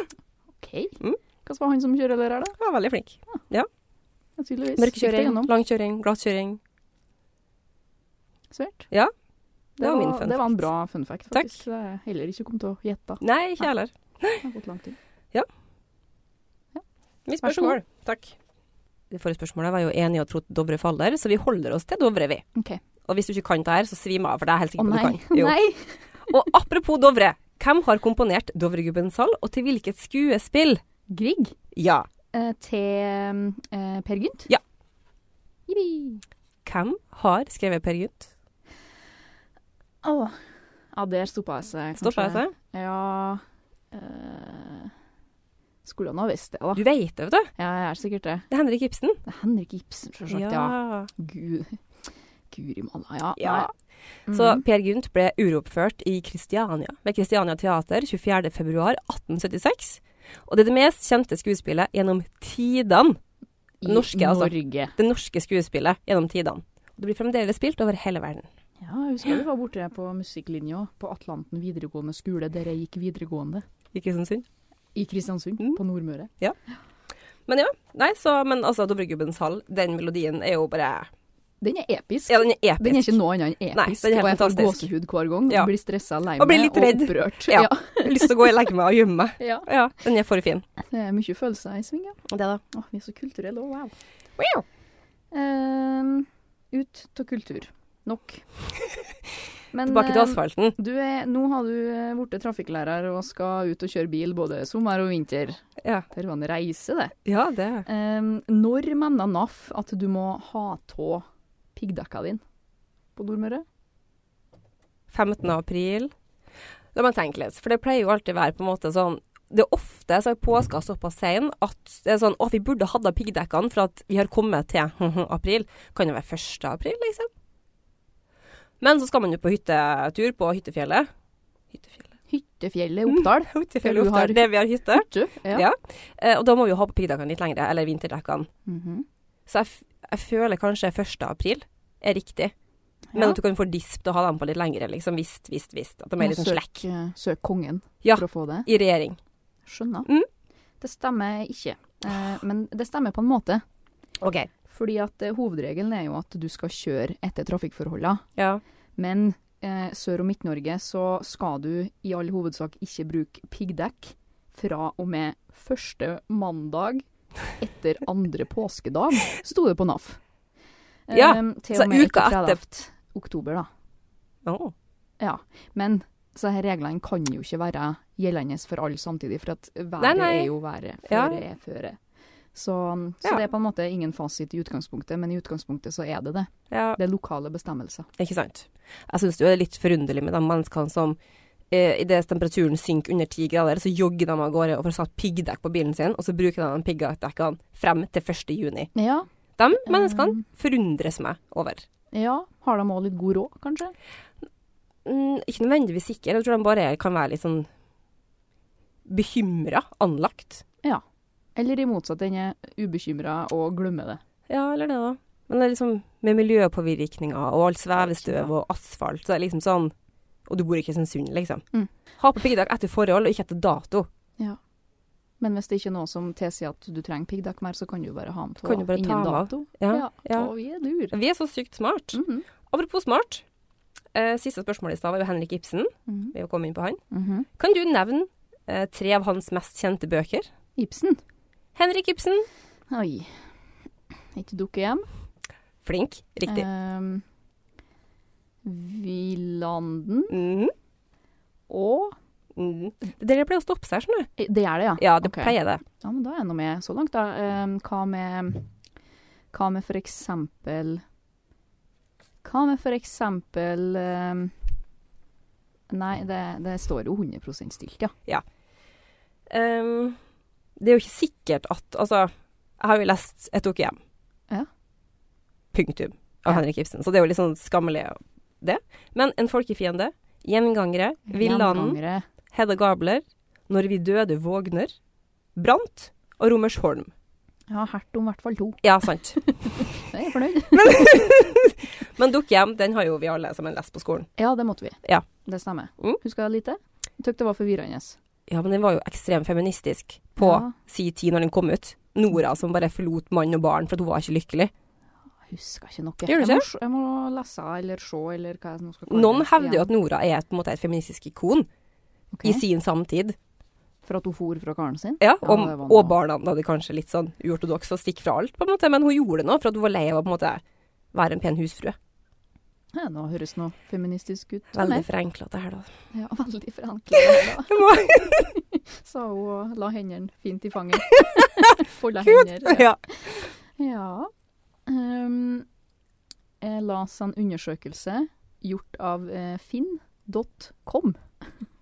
[SPEAKER 3] OK.
[SPEAKER 2] Mm.
[SPEAKER 3] Hva var han som kjørelærer, da?
[SPEAKER 2] Han var veldig flink.
[SPEAKER 3] Ja, Tydeligvis. Gikk det
[SPEAKER 2] Mørkekjøring,
[SPEAKER 3] gjennom.
[SPEAKER 2] langkjøring, glattkjøring.
[SPEAKER 3] Svært.
[SPEAKER 2] Ja. Det var min fun
[SPEAKER 3] Det var en
[SPEAKER 2] fact.
[SPEAKER 3] bra fun fact,
[SPEAKER 2] Takk.
[SPEAKER 3] faktisk. Det er heller ikke kom til å gjette.
[SPEAKER 2] Nei, ikke jeg heller.
[SPEAKER 3] Det har gått lang tid.
[SPEAKER 2] Mitt
[SPEAKER 3] Vær så god.
[SPEAKER 2] spørsmål. Takk. Det forrige spørsmålet var jo enig og trodd Dovre faller, så vi holder oss til Dovre, vi.
[SPEAKER 3] OK.
[SPEAKER 2] Og hvis du ikke kan det her, så svim av, for det er jeg helt
[SPEAKER 3] Å
[SPEAKER 2] sikker på
[SPEAKER 3] nei.
[SPEAKER 2] du kan. Jo.
[SPEAKER 3] nei.
[SPEAKER 2] Og apropos Dovre. Hvem har komponert Dovregubbens hall, og til hvilket skuespill?
[SPEAKER 3] Grieg
[SPEAKER 2] Ja.
[SPEAKER 3] eh, til eh, Per Gynt.
[SPEAKER 2] Ja.
[SPEAKER 3] Jippi.
[SPEAKER 2] Hvem har skrevet Per Gynt?
[SPEAKER 3] Å. Ja, der stoppa jeg seg, kanskje.
[SPEAKER 2] Stoppa jeg seg?
[SPEAKER 3] Ja eh, Skulle han ha visst det, da.
[SPEAKER 2] Du veit det, vet du.
[SPEAKER 3] Ja, jeg er sikkert det.
[SPEAKER 2] Det er Henrik Ibsen.
[SPEAKER 3] Det er Henrik Ibsen, selvsagt. Ja. Gud. Guri malla, ja.
[SPEAKER 2] Ja.
[SPEAKER 3] Nei. Mhm.
[SPEAKER 2] Så Per Gynt ble uroppført i Kristiania ved Kristiania Teater 24.2.1876. Og det er det mest kjente skuespillet gjennom tidene.
[SPEAKER 3] I
[SPEAKER 2] norske, altså.
[SPEAKER 3] Norge.
[SPEAKER 2] Det norske skuespillet gjennom tidene. Og det blir fremdeles spilt over hele verden.
[SPEAKER 3] Ja, jeg husker vi var borte på musikklinja på Atlanten videregående skole, der jeg gikk videregående.
[SPEAKER 2] Ikke sånn synd.
[SPEAKER 3] I Kristiansund,
[SPEAKER 2] Mm.
[SPEAKER 3] på Nordmøre.
[SPEAKER 2] Men ja. Nei, så Men altså, Dovregubbens hall, den melodien er jo bare
[SPEAKER 3] Den er episk.
[SPEAKER 2] Ja, den er episk.
[SPEAKER 3] Den er ikke noe annet enn
[SPEAKER 2] Nei,
[SPEAKER 3] episk.
[SPEAKER 2] den er helt
[SPEAKER 3] og jeg får
[SPEAKER 2] fantastisk.
[SPEAKER 3] gåsehud hver gang.
[SPEAKER 2] Ja.
[SPEAKER 3] Jeg Blir stressa, lei meg
[SPEAKER 2] Og blir litt redd.
[SPEAKER 3] opprørt.
[SPEAKER 2] Ja. Jeg har lyst til å gå og legge meg og gjemme meg.
[SPEAKER 3] Ja.
[SPEAKER 2] Ja, den er for fin.
[SPEAKER 3] Det er mye følelser i sving, ja.
[SPEAKER 2] Det, da.
[SPEAKER 3] Å, vi er så kulturelle òg, wow.
[SPEAKER 2] Wow.
[SPEAKER 3] Ehm, ut av kultur. Nok. Men,
[SPEAKER 2] Tilbake til
[SPEAKER 3] ehm,
[SPEAKER 2] asfalten.
[SPEAKER 3] Du er, nå har du eh, blitt trafikklærer og skal ut og kjøre bil både sommer og vinter.
[SPEAKER 2] Ja.
[SPEAKER 3] Det er jo en reise, eh, det.
[SPEAKER 2] ja, det er
[SPEAKER 3] Em, når mener NAF at du må ha tå piggdekka din på Nordmøre?
[SPEAKER 2] 15. april. La meg tenke litt, for det pleier jo alltid å være på en måte sånn det er ofte så er påska såpass sein at det er sånn Å, vi burde hatt av piggdekkene for at vi har kommet til hm, april. Kan jo være 1. april, liksom. Men så skal man jo på hyttetur på Hyttefjellet. Hyttefjellet?
[SPEAKER 3] Hyttefjellet Oppdal.
[SPEAKER 2] Hyttefjellet
[SPEAKER 3] du har-
[SPEAKER 2] Oppdal, det vi har hytte.
[SPEAKER 3] Hytte? Ja.
[SPEAKER 2] Ja. Eh, og da må vi jo ha på piggdekkene litt lengre, eller vinterdekkene.
[SPEAKER 3] Mhm.
[SPEAKER 2] Så jeg, f jeg føler kanskje 1. april er riktig. Men
[SPEAKER 3] Ja.
[SPEAKER 2] at du kan få disp til å ha dem på litt lengre, liksom. Visst, visst, visst. At de er
[SPEAKER 3] Må
[SPEAKER 2] litt sånn slekk.
[SPEAKER 3] søke, søke eh, kongen
[SPEAKER 2] Ja.
[SPEAKER 3] for å få det.
[SPEAKER 2] I regjering.
[SPEAKER 3] Skjønner.
[SPEAKER 2] Mm.
[SPEAKER 3] Det stemmer ikke. Eh, men det stemmer på en måte.
[SPEAKER 2] OK.
[SPEAKER 3] Fordi at eh, hovedregelen er jo at du skal kjøre etter trafikkforholdene.
[SPEAKER 2] Ja.
[SPEAKER 3] Men eh, Sør- og Midt-Norge så skal du i all hovedsak ikke bruke piggdekk fra og med første mandag etter andre påskedag, sto det på NAF. Eh,
[SPEAKER 2] Ja,
[SPEAKER 3] til
[SPEAKER 2] så
[SPEAKER 3] og med
[SPEAKER 2] uka
[SPEAKER 3] etter
[SPEAKER 2] etter.
[SPEAKER 3] 30. oktober, da.
[SPEAKER 2] Å.
[SPEAKER 3] Men så her reglene kan jo ikke være gjeldende for alle samtidig, for at været
[SPEAKER 2] Nei, nei.
[SPEAKER 3] er jo været
[SPEAKER 2] Ja.
[SPEAKER 3] føre er føre. Så, så
[SPEAKER 2] Ja.
[SPEAKER 3] det er på en måte ingen fasit i utgangspunktet, men i utgangspunktet så er det det.
[SPEAKER 2] Ja,
[SPEAKER 3] Det er lokale bestemmelser.
[SPEAKER 2] ikke sant. Jeg syns det er litt forunderlig med de menneskene som eh, idet temperaturen synker under ti grader, så jogger de av gårde og får satt piggdekk på bilen sin, og så bruker de de piggdekkene frem til 1. juni.
[SPEAKER 3] Ja,
[SPEAKER 2] De menneskene
[SPEAKER 3] Um.
[SPEAKER 2] forundres meg over.
[SPEAKER 3] ja. Har de òg litt god råd, kanskje?
[SPEAKER 2] Mm, ikke nødvendigvis sikker, jeg tror de bare kan være litt sånn bekymra anlagt.
[SPEAKER 3] Eller i motsatt ende ubekymra og glemmer det.
[SPEAKER 2] Ja, eller det, da. Men det er liksom med miljøpåvirkninger og alt svevestøv og asfalt, så er det liksom sånn Og du bor ikke i Sund, liksom.
[SPEAKER 3] Mm.
[SPEAKER 2] Ha på piggdekk etter forhold og ikke etter dato.
[SPEAKER 3] Men hvis det ikke er noe som tilsier at du trenger piggdekk mer, så kan du bare ha den til
[SPEAKER 2] Kan du bare ta
[SPEAKER 3] innen
[SPEAKER 2] den av.
[SPEAKER 3] dato.
[SPEAKER 2] Ja, ja.
[SPEAKER 3] Og vi er lur.
[SPEAKER 2] Vi er så sykt smart.
[SPEAKER 3] Mhm,
[SPEAKER 2] Apropos smart. Eh, siste spørsmål i stad var jo Henrik Ibsen.
[SPEAKER 3] mhm,
[SPEAKER 2] Vi har kommet inn på han.
[SPEAKER 3] mhm.
[SPEAKER 2] Kan du nevne eh, tre av hans mest kjente bøker?
[SPEAKER 3] Ibsen.
[SPEAKER 2] Henrik Ibsen.
[SPEAKER 3] Oi. Ikke dukke hjem.
[SPEAKER 2] Flink. Riktig.
[SPEAKER 3] Ehm, Vilanden
[SPEAKER 2] Mhm.
[SPEAKER 3] og
[SPEAKER 2] Mm. Det er det pleier å stoppe seg, skjønner du.
[SPEAKER 3] Eh, Det er det, ja?
[SPEAKER 2] Ja, det
[SPEAKER 3] Ok.
[SPEAKER 2] pleier det.
[SPEAKER 3] Ja, men da er jeg nå med så langt, da. Ehm, hva med Hva med for eksempel Hva med for eksempel ehm, Nei, det, det står jo 100 stilt, ja.
[SPEAKER 2] Ehm, det er jo ikke sikkert at Altså, jeg har jo lest Et OK hjem.
[SPEAKER 3] Ja.
[SPEAKER 2] Punktum. Av
[SPEAKER 3] Ja.
[SPEAKER 2] Henrik Ibsen. Så det er jo litt sånn skammelig, det. Men En folkefiende, Gjengangere, Villanden,
[SPEAKER 3] Gjengangere.
[SPEAKER 2] Hedda Gabler, Når vi døde vågner, Brant og Romersholm.
[SPEAKER 3] Ja, Hert om i hvert fall to.
[SPEAKER 2] Ja, sant.
[SPEAKER 3] Det er jeg fornøyd.
[SPEAKER 2] Men Dukk hjem, den har jo vi alle sammen lest på skolen.
[SPEAKER 3] Ja, det måtte vi.
[SPEAKER 2] Ja.
[SPEAKER 3] Det stemmer.
[SPEAKER 2] Mm.
[SPEAKER 3] Husker jeg lite? Jeg syntes det var forvirrende.
[SPEAKER 2] Ja, men den var jo ekstremt feministisk på
[SPEAKER 3] Ja.
[SPEAKER 2] si tid når den kom ut. Nora som bare forlot mann og barn for at hun var ikke lykkelig.
[SPEAKER 3] Jeg husker ikke noe.
[SPEAKER 2] Gjør du
[SPEAKER 3] jeg, må, se- jeg må lese eller se eller hva jeg nå skal kalle
[SPEAKER 2] Noen
[SPEAKER 3] det
[SPEAKER 2] hevder jo
[SPEAKER 3] igjen.
[SPEAKER 2] at Nora er et, på en måte, et feministisk ikon.
[SPEAKER 3] Ok.
[SPEAKER 2] i sin samtid.
[SPEAKER 3] For at hun for fra karen sin?
[SPEAKER 2] Ja,
[SPEAKER 3] Ja,
[SPEAKER 2] og,
[SPEAKER 3] det var noe.
[SPEAKER 2] og barna hadde kanskje litt sånn uortodokse og stikk fra alt, på en måte. Men hun gjorde det nå for at hun var lei av å på en måte være en pen husfrue.
[SPEAKER 3] Ja, nå høres noe feministisk ut.
[SPEAKER 2] Veldig forenkla det her, da.
[SPEAKER 3] Ja, veldig forenklet.
[SPEAKER 2] Det var-
[SPEAKER 3] Sa hun og la hendene fint i fanget. Folda
[SPEAKER 2] Gud,
[SPEAKER 3] hender.
[SPEAKER 2] ja.
[SPEAKER 3] Ja. Ehm, jeg las en undersøkelse gjort av eh, finn.com.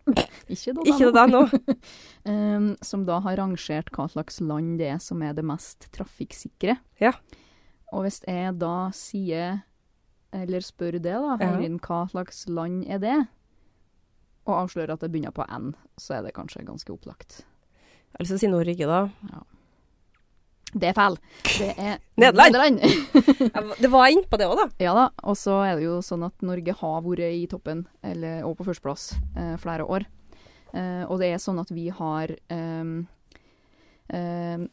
[SPEAKER 3] Ikke da,
[SPEAKER 2] Ikke det der nå.
[SPEAKER 3] Ehm, som da har rangert hva slags land det er som er det mest trafikksikre.
[SPEAKER 2] Ja.
[SPEAKER 3] Og hvis jeg da sier, eller spør det da,
[SPEAKER 2] Ja.
[SPEAKER 3] Eirin, hva slags land er det? Og avslører at det begynner på N, så er det kanskje ganske opplagt.
[SPEAKER 2] Jeg har lyst til å si Norge, da.
[SPEAKER 3] Det er feil! Det er
[SPEAKER 2] Nederland! Jeg var- Det var jeg innpå det òg, da.
[SPEAKER 3] ja da, og så er det jo sånn at Norge har vært i toppen, eller, og på førsteplass, eh, flere år. Eh, og det er sånn at vi har ehm, ehm,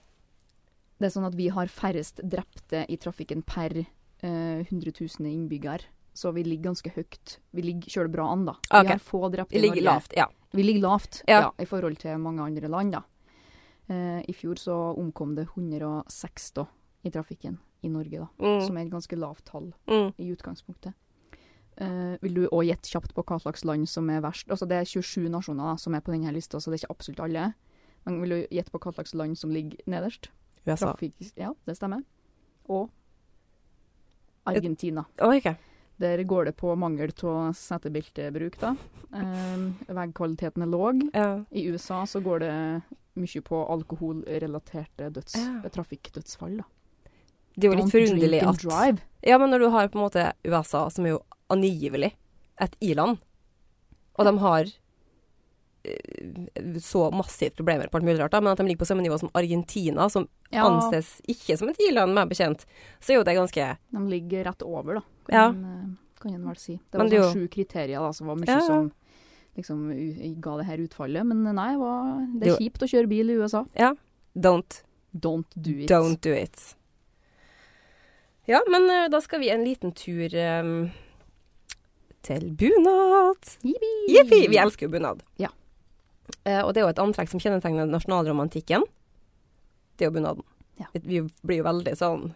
[SPEAKER 3] Det er sånn at vi har færrest drepte i trafikken per eh, 100 000 innbyggere. Så vi ligger ganske høyt. Vi ligger kjøler bra an, da.
[SPEAKER 2] Ah, Ok.
[SPEAKER 3] Vi har få drepte
[SPEAKER 2] Jeg
[SPEAKER 3] i
[SPEAKER 2] ligger
[SPEAKER 3] Norge.
[SPEAKER 2] lavt, ja.
[SPEAKER 3] Vi ligger lavt
[SPEAKER 2] Ja.
[SPEAKER 3] ja. i forhold til mange andre land. Da. Eh, I fjor så omkom det 106 da, i trafikken i Norge, da,
[SPEAKER 2] Mm,
[SPEAKER 3] som er et ganske lavt tall
[SPEAKER 2] mm.
[SPEAKER 3] i utgangspunktet. Eh, vil du òg gjette kjapt på hva slags land som er verst? Altså, det er 27 nasjoner da, som er på denne lista, så det er ikke absolutt alle. Men vil du gjette på hva slags land som ligger nederst?
[SPEAKER 2] USA.
[SPEAKER 3] Trafikk- ja, det stemmer. Og Argentina.
[SPEAKER 2] Å, ok.
[SPEAKER 3] Der går det på mangel av setebeltebruk, da. Eh, veggkvaliteten er låg.
[SPEAKER 2] Ja.
[SPEAKER 3] I USA så går det mye på alkoholrelaterte døds,
[SPEAKER 2] Ja.
[SPEAKER 3] trafikkdødsfall, da.
[SPEAKER 2] Det er jo litt
[SPEAKER 3] Don't drink
[SPEAKER 2] forunderlig
[SPEAKER 3] and
[SPEAKER 2] at
[SPEAKER 3] drive.
[SPEAKER 2] Ja, men når du har på en måte USA, som er jo angivelig et i-land, og de har eh, så massivt problemer på alt mulig rart, da, men at de ligger på samme nivå som Argentina, som
[SPEAKER 3] Ja,
[SPEAKER 2] anses ikke som et i-land, meg bekjent, så er jo det ganske
[SPEAKER 3] de ligger rett over, da.
[SPEAKER 2] Ja.
[SPEAKER 3] Kan, eh, kan en vel si. Det
[SPEAKER 2] Men
[SPEAKER 3] var
[SPEAKER 2] det er
[SPEAKER 3] sånn sju kriterier da, som var mye
[SPEAKER 2] Ja, ja.
[SPEAKER 3] som liksom u ga det her utfallet. Men eh, nei, det var, det
[SPEAKER 2] Det
[SPEAKER 3] er
[SPEAKER 2] var-
[SPEAKER 3] kjipt å kjøre bil i USA.
[SPEAKER 2] Don't,
[SPEAKER 3] Don't do it.
[SPEAKER 2] don't do it. Ja, men eh, da skal vi en liten tur eh, til bunad.
[SPEAKER 3] Jippi!
[SPEAKER 2] Jippi! Vi elsker jo bunad.
[SPEAKER 3] Ja.
[SPEAKER 2] Eh, og det er jo et antrekk som kjennetegner nasjonalromantikken. Det er jo bunaden.
[SPEAKER 3] Ja.
[SPEAKER 2] Vi, vi blir jo veldig sånn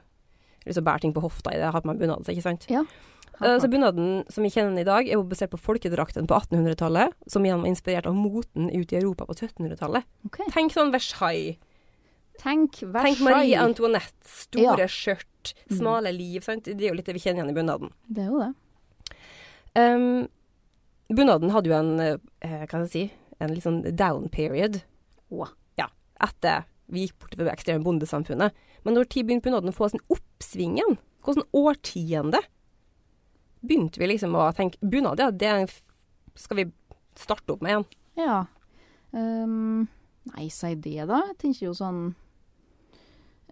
[SPEAKER 2] Lyst til å bære ting på hofta i det, har på meg bunad, så ikke sant. Eh,
[SPEAKER 3] Helt
[SPEAKER 2] så
[SPEAKER 3] klart.
[SPEAKER 2] bunaden som vi kjenner den i dag, er jo basert på folkedrakten på 1800-tallet, som igjen var inspirert av moten ute i Europa på 1700-tallet.
[SPEAKER 3] Ok.
[SPEAKER 2] Tenk sånn Versailles.
[SPEAKER 3] Tenk
[SPEAKER 2] Tenk Marie
[SPEAKER 3] Versailles. Mm.
[SPEAKER 2] Antoinette. Store skjørt, smale liv. Sant? Det er jo litt det vi kjenner igjen i bunaden.
[SPEAKER 3] Det er jo det.
[SPEAKER 2] Um, bunaden hadde jo en, eh, hva skal jeg si, en litt sånn down period.
[SPEAKER 3] Wow.
[SPEAKER 2] Ja, etter vi gikk bort fra det ekstreme bondesamfunnet. Men når tid begynte bunaden å få sin oppsving igjen? Hvordan årtiende? Begynte vi liksom å tenke bunad, ja, det er en f- skal vi starte opp med igjen.
[SPEAKER 3] Ja. Ehm, nei, si det, da. Jeg tenker jo sånn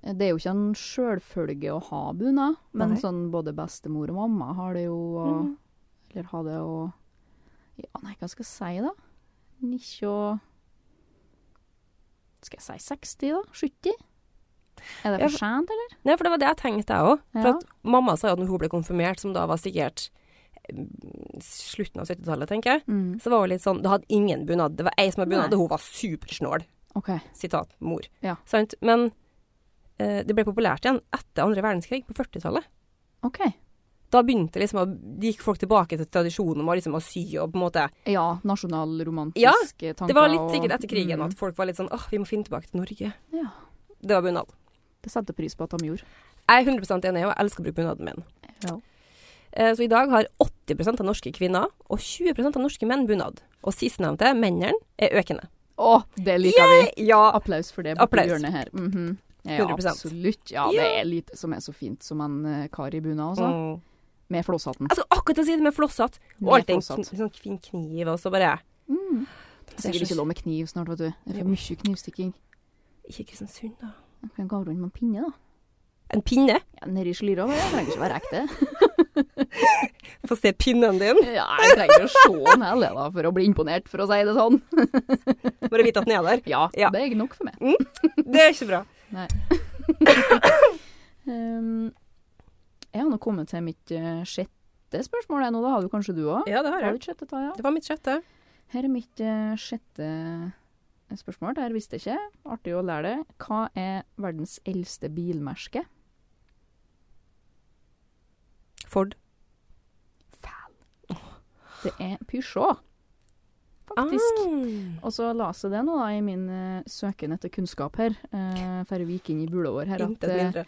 [SPEAKER 3] Det er jo ikke en sjølfølge å ha bunad, men
[SPEAKER 2] Nei. Mm.
[SPEAKER 3] sånn både bestemor og mamma har det jo. Og, Eller har det å Ja, nei, hva skal jeg si, da? Nikkje og Skal jeg si 60, da? 70? Er det
[SPEAKER 2] Ja,
[SPEAKER 3] for sent, eller?
[SPEAKER 2] Nei, for det var det jeg tenkte, jeg òg. For
[SPEAKER 3] Ja.
[SPEAKER 2] at mamma sa jo at når hun ble konfirmert, som da var sikkert eh, slutten av 70-tallet, tenker jeg,
[SPEAKER 3] Mm.
[SPEAKER 2] så var hun litt sånn Det hadde ingen bunad. Det var ei som hadde bunad,
[SPEAKER 3] Nei.
[SPEAKER 2] og hun var supersnål.
[SPEAKER 3] OK.
[SPEAKER 2] Sitat mor.
[SPEAKER 3] Ja.
[SPEAKER 2] Sant? Men eh, det ble populært igjen etter andre verdenskrig, på 40-tallet.
[SPEAKER 3] ok.
[SPEAKER 2] Da begynte liksom å, de gikk folk tilbake til tradisjonen om å, liksom, å sy og på en måte
[SPEAKER 3] Ja, nasjonalromantiske
[SPEAKER 2] Ja,
[SPEAKER 3] tanker
[SPEAKER 2] Det var litt
[SPEAKER 3] og-
[SPEAKER 2] sikkert etter krigen
[SPEAKER 3] Mm.
[SPEAKER 2] at folk var litt sånn åh, vi må finne tilbake til Norge.
[SPEAKER 3] Ja.
[SPEAKER 2] Det var bunad.
[SPEAKER 3] Det setter pris på at de gjorde.
[SPEAKER 2] Jeg er 100 enig, og jeg elsker å bruke bunaden min.
[SPEAKER 3] Ja.
[SPEAKER 2] Eh, Så i dag har 80 av norske kvinner og 20 av norske menn bunad. Og sistnevnte, mennene, er økende.
[SPEAKER 3] Å, det liker vi!
[SPEAKER 2] Ja.
[SPEAKER 3] Applaus for det borti
[SPEAKER 2] Applaus.
[SPEAKER 3] hjørnet her. Mhm. Ja,
[SPEAKER 2] 100%.
[SPEAKER 3] absolutt. Ja, det er lite som er så fint som en eh, kar i bunad, altså.
[SPEAKER 2] Mm.
[SPEAKER 3] Med flåshatten.
[SPEAKER 2] Jeg skal akkurat til å si det med flosshatt. Og
[SPEAKER 3] Med
[SPEAKER 2] alltid en
[SPEAKER 3] flosshatt.
[SPEAKER 2] kn sånn fin kniv, og så bare
[SPEAKER 3] Mm. Det er
[SPEAKER 2] Det er
[SPEAKER 3] Sikkert
[SPEAKER 2] så-
[SPEAKER 3] ikke lov med kniv snart, vet du. Det
[SPEAKER 2] Jo.
[SPEAKER 3] er for mye knivstikking.
[SPEAKER 2] Ikke Kristiansund, da.
[SPEAKER 3] Jeg kan gå rundt med en pinne, da.
[SPEAKER 2] En pinne?
[SPEAKER 3] Ja, Nedi slira, men jeg trenger ikke være ekte.
[SPEAKER 2] Få se pinnen din.
[SPEAKER 3] Ja, jeg trenger å se den heller, da, for å bli imponert, for å si det sånn.
[SPEAKER 2] Bare vite at den er der.
[SPEAKER 3] Ja,
[SPEAKER 2] Ja.
[SPEAKER 3] det er nok for meg.
[SPEAKER 2] Det er ikke bra.
[SPEAKER 3] Um, jeg har nå kommet til mitt eh, sjette spørsmål jeg nå, da har du kanskje du òg?
[SPEAKER 2] Ja, det har
[SPEAKER 3] Har du
[SPEAKER 2] jeg.
[SPEAKER 3] et sjette, Taja?
[SPEAKER 2] Det var mitt sjette.
[SPEAKER 3] Her er mitt eh, sjette eh, spørsmål. Det her visste jeg ikke. Artig å lære det. Hva er verdens eldste bilmerke?
[SPEAKER 2] Ford.
[SPEAKER 3] Fæl. Det er Peugeot,
[SPEAKER 2] Ah.
[SPEAKER 3] faktisk. Og så leste jeg det nå da, i min eh, søken etter kunnskap her, eh, før vi gikk inn i buleår her, at,
[SPEAKER 2] Intet
[SPEAKER 3] eh,
[SPEAKER 2] mindre.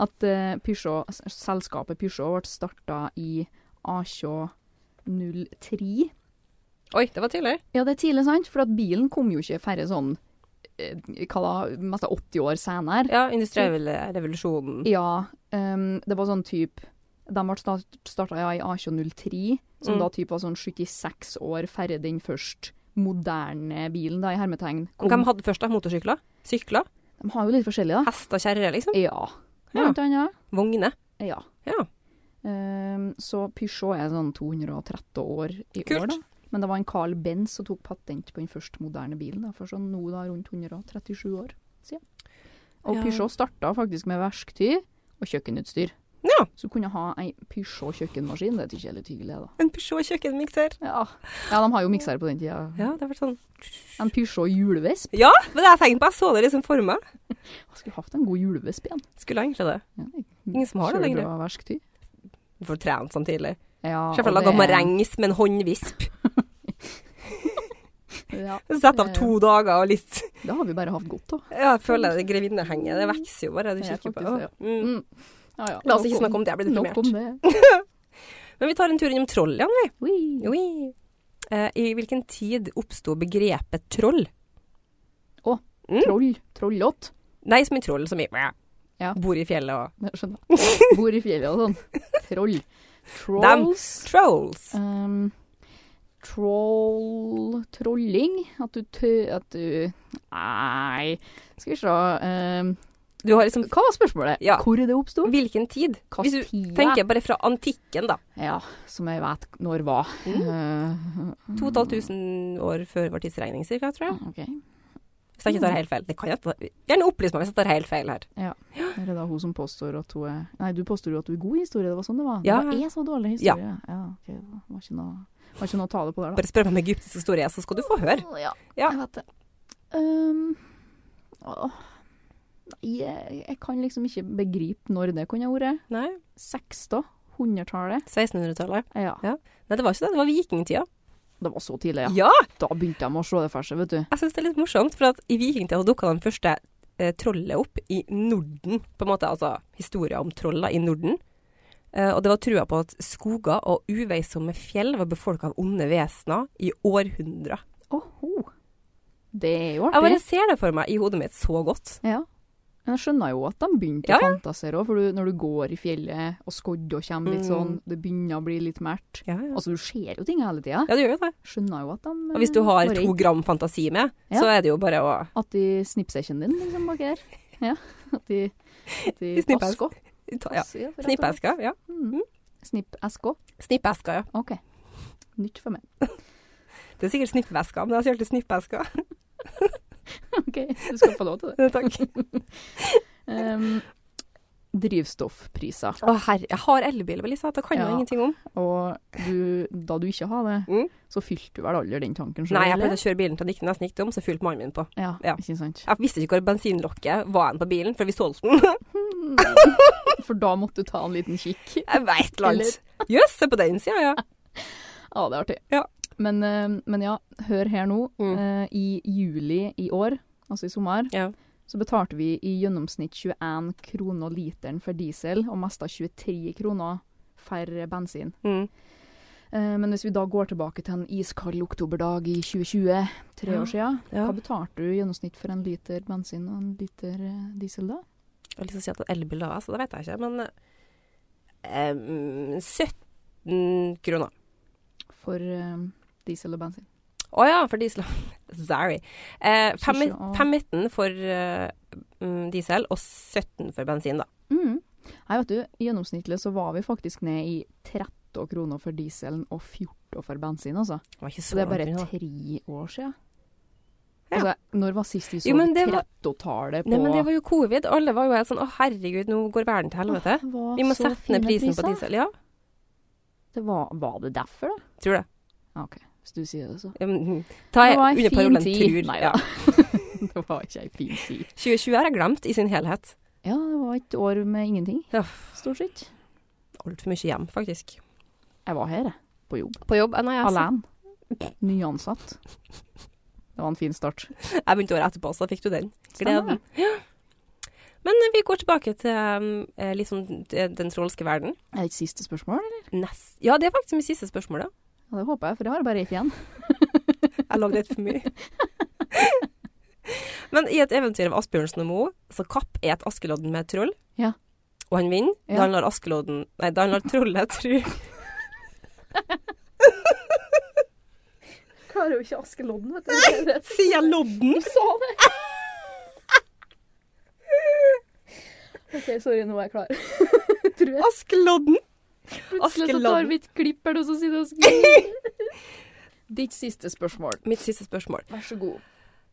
[SPEAKER 3] at eh, Peugeot, s- selskapet Peugeot ble starta i A2003.
[SPEAKER 2] eh, Oi, det var tidlig.
[SPEAKER 3] Ja, det er tidlig, sant? For at bilen kom jo ikke færre sånn, eh, hva da, mest av 80 år senere.
[SPEAKER 2] Ja, industriell revolusjon.
[SPEAKER 3] Ja, ehm, det var sånn type De ble start- starta ja, i A2003, som
[SPEAKER 2] Mm.
[SPEAKER 3] da typ var sånn 76 år færre den først moderne bilen, da, i hermetegn.
[SPEAKER 2] Og Hvem hadde først, da? Motorsykler? Sykler?
[SPEAKER 3] de har jo litt forskjellig, da.
[SPEAKER 2] Hester? Kjerrer, liksom?
[SPEAKER 3] Ja.
[SPEAKER 2] Ja.
[SPEAKER 3] Blant annet.
[SPEAKER 2] Vogner?
[SPEAKER 3] Ja.
[SPEAKER 2] Ja.
[SPEAKER 3] Ehm, så Peugeot er sånn 230 år i
[SPEAKER 2] Kult.
[SPEAKER 3] år, da. Men det var en Carl Benz som tok patent på den første moderne bilen, da, for sånn nå da rundt 137 år siden. Og
[SPEAKER 2] Ja.
[SPEAKER 3] Peugeot starta faktisk med verktøy og kjøkkenutstyr.
[SPEAKER 2] Ja.
[SPEAKER 3] Så kunne jeg ha ei Peugeot kjøkkenmaskin, det tykker jeg er litt hyggelig, da.
[SPEAKER 2] En Peugeot kjøkkenmikser.
[SPEAKER 3] Ja, ja de har jo mikser på den tida.
[SPEAKER 2] Ja, det har vært sånn
[SPEAKER 3] En Peugeot julevesp.
[SPEAKER 2] Ja, det var det jeg tenkte på. Jeg så det liksom for meg.
[SPEAKER 3] Jeg skulle hatt en god julevesp igjen.
[SPEAKER 2] Skulle egentlig det.
[SPEAKER 3] Ja,
[SPEAKER 2] Ingen som har det lenger.
[SPEAKER 3] Kjølebra verktøy.
[SPEAKER 2] Du får trent sånn tidlig.
[SPEAKER 3] Ja,
[SPEAKER 2] Se for deg
[SPEAKER 3] og
[SPEAKER 2] laga
[SPEAKER 3] det-
[SPEAKER 2] marengs med en håndvisp.
[SPEAKER 3] Ja,
[SPEAKER 2] Sett av to dager og litt
[SPEAKER 3] det har vi bare hatt godt av.
[SPEAKER 2] Ja, jeg føler det grevinnehenget. Det vokser jo bare, du
[SPEAKER 3] Det er
[SPEAKER 2] kikker på
[SPEAKER 3] faktisk
[SPEAKER 2] det. Mm.
[SPEAKER 3] Mm. Ja, ja.
[SPEAKER 2] La oss ikke snakke om det, jeg blir
[SPEAKER 3] Nok om
[SPEAKER 2] deprimert.
[SPEAKER 3] det.
[SPEAKER 2] Men vi tar en tur innom troll igjen, vi.
[SPEAKER 3] Ui.
[SPEAKER 2] Oi. Eh, I hvilken tid oppsto begrepet troll? Mm.
[SPEAKER 3] Troll. Trollott.
[SPEAKER 2] Nei, som i troll, som i
[SPEAKER 3] Ja.
[SPEAKER 2] Bor i fjellet og
[SPEAKER 3] Jeg skjønner. Bor i fjellet og sånn. Troll. Trolls.
[SPEAKER 2] Trolls.
[SPEAKER 3] Um, troll... Trolling? At du tø... At du... Nei. Skal vi se. Um,
[SPEAKER 2] Du har liksom
[SPEAKER 3] hva var spørsmålet?
[SPEAKER 2] Ja.
[SPEAKER 3] Hvor det oppsto?
[SPEAKER 2] Hvilken tid?
[SPEAKER 3] Hva
[SPEAKER 2] Hvis du
[SPEAKER 3] tida-
[SPEAKER 2] tenker bare fra antikken, da.
[SPEAKER 3] Ja, som jeg vet når var.
[SPEAKER 2] Mm.
[SPEAKER 3] Uh,
[SPEAKER 2] 2500 år før vår tidsregning, cirka, tror jeg.
[SPEAKER 3] ok.
[SPEAKER 2] Hvis jeg ikke
[SPEAKER 3] Mm.
[SPEAKER 2] tar helt feil. Det kan jeg ta. Gjerne opplys meg hvis jeg tar helt feil her.
[SPEAKER 3] Er det da hun som påstår at hun er Nei, du påstår jo at du er god i historie, det var sånn det var.
[SPEAKER 2] Ja.
[SPEAKER 3] Det var jeg så dårlig i
[SPEAKER 2] Ja.
[SPEAKER 3] historie. Ja. ok. Det var ikke noe, var ikke noe å tale på der, da.
[SPEAKER 2] Bare spør meg om egyptisk historie, så skal du få høre.
[SPEAKER 3] Ja,
[SPEAKER 2] Ja.
[SPEAKER 3] jeg vet det. Ehm, åh. Nei, jeg, jeg kan liksom ikke begripe når det kunne ha vært.
[SPEAKER 2] Nei,
[SPEAKER 3] 60-, 100-tallet.
[SPEAKER 2] 1600-tallet.
[SPEAKER 3] Ja.
[SPEAKER 2] Ja. Nei, det var ikke det. Det var vikingtida.
[SPEAKER 3] Det var så tidlig, ja.
[SPEAKER 2] Ja!
[SPEAKER 3] Da begynte de å se det for seg, vet du.
[SPEAKER 2] Jeg syns det er litt morsomt, for at i vikingtida så dukka de første eh, trollet opp i Norden, på en måte, altså historier om troller i Norden. Eh, og det var trua på at skoger og uveisomme fjell var befolka av onde vesener i århundrer.
[SPEAKER 3] Åhå. Det er jo
[SPEAKER 2] Jeg bare
[SPEAKER 3] artig.
[SPEAKER 2] ser det for meg i hodet mitt så godt.
[SPEAKER 3] Ja. Men jeg skjønner jo at de begynte
[SPEAKER 2] Ja,
[SPEAKER 3] å fantasere òg, for du, når du går i fjellet, og skodde og kommer litt
[SPEAKER 2] Mm.
[SPEAKER 3] sånn, det begynner å bli litt mært.
[SPEAKER 2] Ja, ja.
[SPEAKER 3] Altså, du ser jo ting hele tida.
[SPEAKER 2] ja, det gjør jo det.
[SPEAKER 3] Skjønner jo at de
[SPEAKER 2] Og hvis du har
[SPEAKER 3] eh,
[SPEAKER 2] to gram fantasi med,
[SPEAKER 3] Ja.
[SPEAKER 2] så er det jo bare å
[SPEAKER 3] At de snipser ikke din, liksom, bak her. Ja. At de, at de,
[SPEAKER 2] De snipper.
[SPEAKER 3] Asko.
[SPEAKER 2] ta- ja.
[SPEAKER 3] Asko, ja, for rett og slett.
[SPEAKER 2] Snippeska, ja.
[SPEAKER 3] Mm. Snipp-eska.
[SPEAKER 2] Snippeska, ja.
[SPEAKER 3] OK. Nytt for meg.
[SPEAKER 2] Det er sikkert snippeveska, men jeg sier alltid snippeska.
[SPEAKER 3] OK, du skal få lov til det.
[SPEAKER 2] Takk.
[SPEAKER 3] Um, drivstoffpriser.
[SPEAKER 2] Å herre, jeg har elbil, Melissa. Det kan jeg
[SPEAKER 3] Ja.
[SPEAKER 2] ingenting om.
[SPEAKER 3] Og du, da du ikke har det,
[SPEAKER 2] Mm.
[SPEAKER 3] så fylte du vel aldri den tanken selv,
[SPEAKER 2] Nei, jeg
[SPEAKER 3] eller?
[SPEAKER 2] pleide å kjøre bilen til den gikk nesten gikk tom, så fylte mannen min på.
[SPEAKER 3] Ja,
[SPEAKER 2] Ja.
[SPEAKER 3] ikke sant.
[SPEAKER 2] Jeg visste ikke hvor bensinlokket var hen på bilen før vi solgte den.
[SPEAKER 3] For da måtte du ta en liten kikk.
[SPEAKER 2] Jeg veit langt. Jøss, se på den sida, ja.
[SPEAKER 3] Ja, det er artig.
[SPEAKER 2] Ja.
[SPEAKER 3] Men, eh, men ja, hør her nå.
[SPEAKER 2] Mm.
[SPEAKER 3] Eh, I juli i år, altså i sommer,
[SPEAKER 2] Ja.
[SPEAKER 3] så betalte vi i gjennomsnitt 21 kroner literen for diesel, og mesta 23 kroner for bensin.
[SPEAKER 2] Mm.
[SPEAKER 3] Eh, Men hvis vi da går tilbake til en iskald oktoberdag i 2020, tre
[SPEAKER 2] Ja,
[SPEAKER 3] år siden,
[SPEAKER 2] ja.
[SPEAKER 3] hva betalte du i gjennomsnitt for en liter bensin og en liter eh, diesel da?
[SPEAKER 2] Jeg har lyst til å si at det er elbil, da, så det vet jeg ikke, men eh, em, 17 kroner.
[SPEAKER 3] For eh, diesel og bensin.
[SPEAKER 2] Å ja, for diesel. Sorry. Eh, fem-
[SPEAKER 3] Sushi og-
[SPEAKER 2] 5,19 for eh, mm, diesel og 17 for bensin, da.
[SPEAKER 3] Mm. Nei, vet du, i gjennomsnittlig så var vi faktisk ned i 30 kroner for dieselen og 14 for bensin, altså.
[SPEAKER 2] Det var ikke
[SPEAKER 3] Så
[SPEAKER 2] så
[SPEAKER 3] det er bare
[SPEAKER 2] langt unna.
[SPEAKER 3] tre år siden.
[SPEAKER 2] Ja.
[SPEAKER 3] Altså, når var sist vi så
[SPEAKER 2] Jo, men det var-
[SPEAKER 3] 30-tallet på
[SPEAKER 2] Nei, men det var jo covid. Alle var jo helt sånn å herregud, nå går verden til helvete.
[SPEAKER 3] Åh, det var
[SPEAKER 2] Vi må
[SPEAKER 3] så
[SPEAKER 2] sette ned
[SPEAKER 3] fine
[SPEAKER 2] prisen
[SPEAKER 3] priser.
[SPEAKER 2] på diesel. Ja,
[SPEAKER 3] Det var, var det derfor, da?
[SPEAKER 2] tror det.
[SPEAKER 3] Ja, OK, hvis du sier det, så.
[SPEAKER 2] Mm, Ta
[SPEAKER 3] Det var en
[SPEAKER 2] under
[SPEAKER 3] fin
[SPEAKER 2] parolen
[SPEAKER 3] tid.
[SPEAKER 2] tur.
[SPEAKER 3] Nei,
[SPEAKER 2] ja.
[SPEAKER 3] da. det var ikke ei fin tid.
[SPEAKER 2] 2020 har jeg glemt i sin helhet.
[SPEAKER 3] Ja, det var et år med ingenting,
[SPEAKER 2] Ja.
[SPEAKER 3] stort sett.
[SPEAKER 2] Altfor mye hjem, faktisk.
[SPEAKER 3] Jeg var her, jeg. På jobb.
[SPEAKER 2] På jobb? eh, Nei, jeg,
[SPEAKER 3] Alene. Nyansatt. Det var en fin start.
[SPEAKER 2] jeg begynte året etterpå, så da fikk du den.
[SPEAKER 3] Stemmer
[SPEAKER 2] Gleden. Ja. Men eh, vi går tilbake til um, eh, litt sånn eh, den trolske verden.
[SPEAKER 3] Er det et siste spørsmål, eller?
[SPEAKER 2] Nest. Ja, det er faktisk mitt siste spørsmål, da.
[SPEAKER 3] Ja, det håper jeg, for jeg har bare ett igjen.
[SPEAKER 2] Jeg lagde et for mye. Men i et eventyr av Asbjørnsen og Moe, så kapp er et Askelodden med et troll.
[SPEAKER 3] Ja.
[SPEAKER 2] Og han vinner.
[SPEAKER 3] Ja.
[SPEAKER 2] Da han lar Askelodden Nei, da han lar trollet tru
[SPEAKER 3] Klarer jo ikke Askelodden, vet du.
[SPEAKER 2] Sier jeg lodden?
[SPEAKER 3] sa det! OK, sorry, nå er jeg klar. Tror jeg.
[SPEAKER 2] Askelodden!
[SPEAKER 3] Plutselig så tar
[SPEAKER 2] Askeladden.
[SPEAKER 3] vi et klipp her, og så sitter jeg og Ditt siste spørsmål.
[SPEAKER 2] Mitt siste spørsmål.
[SPEAKER 3] Vær så god.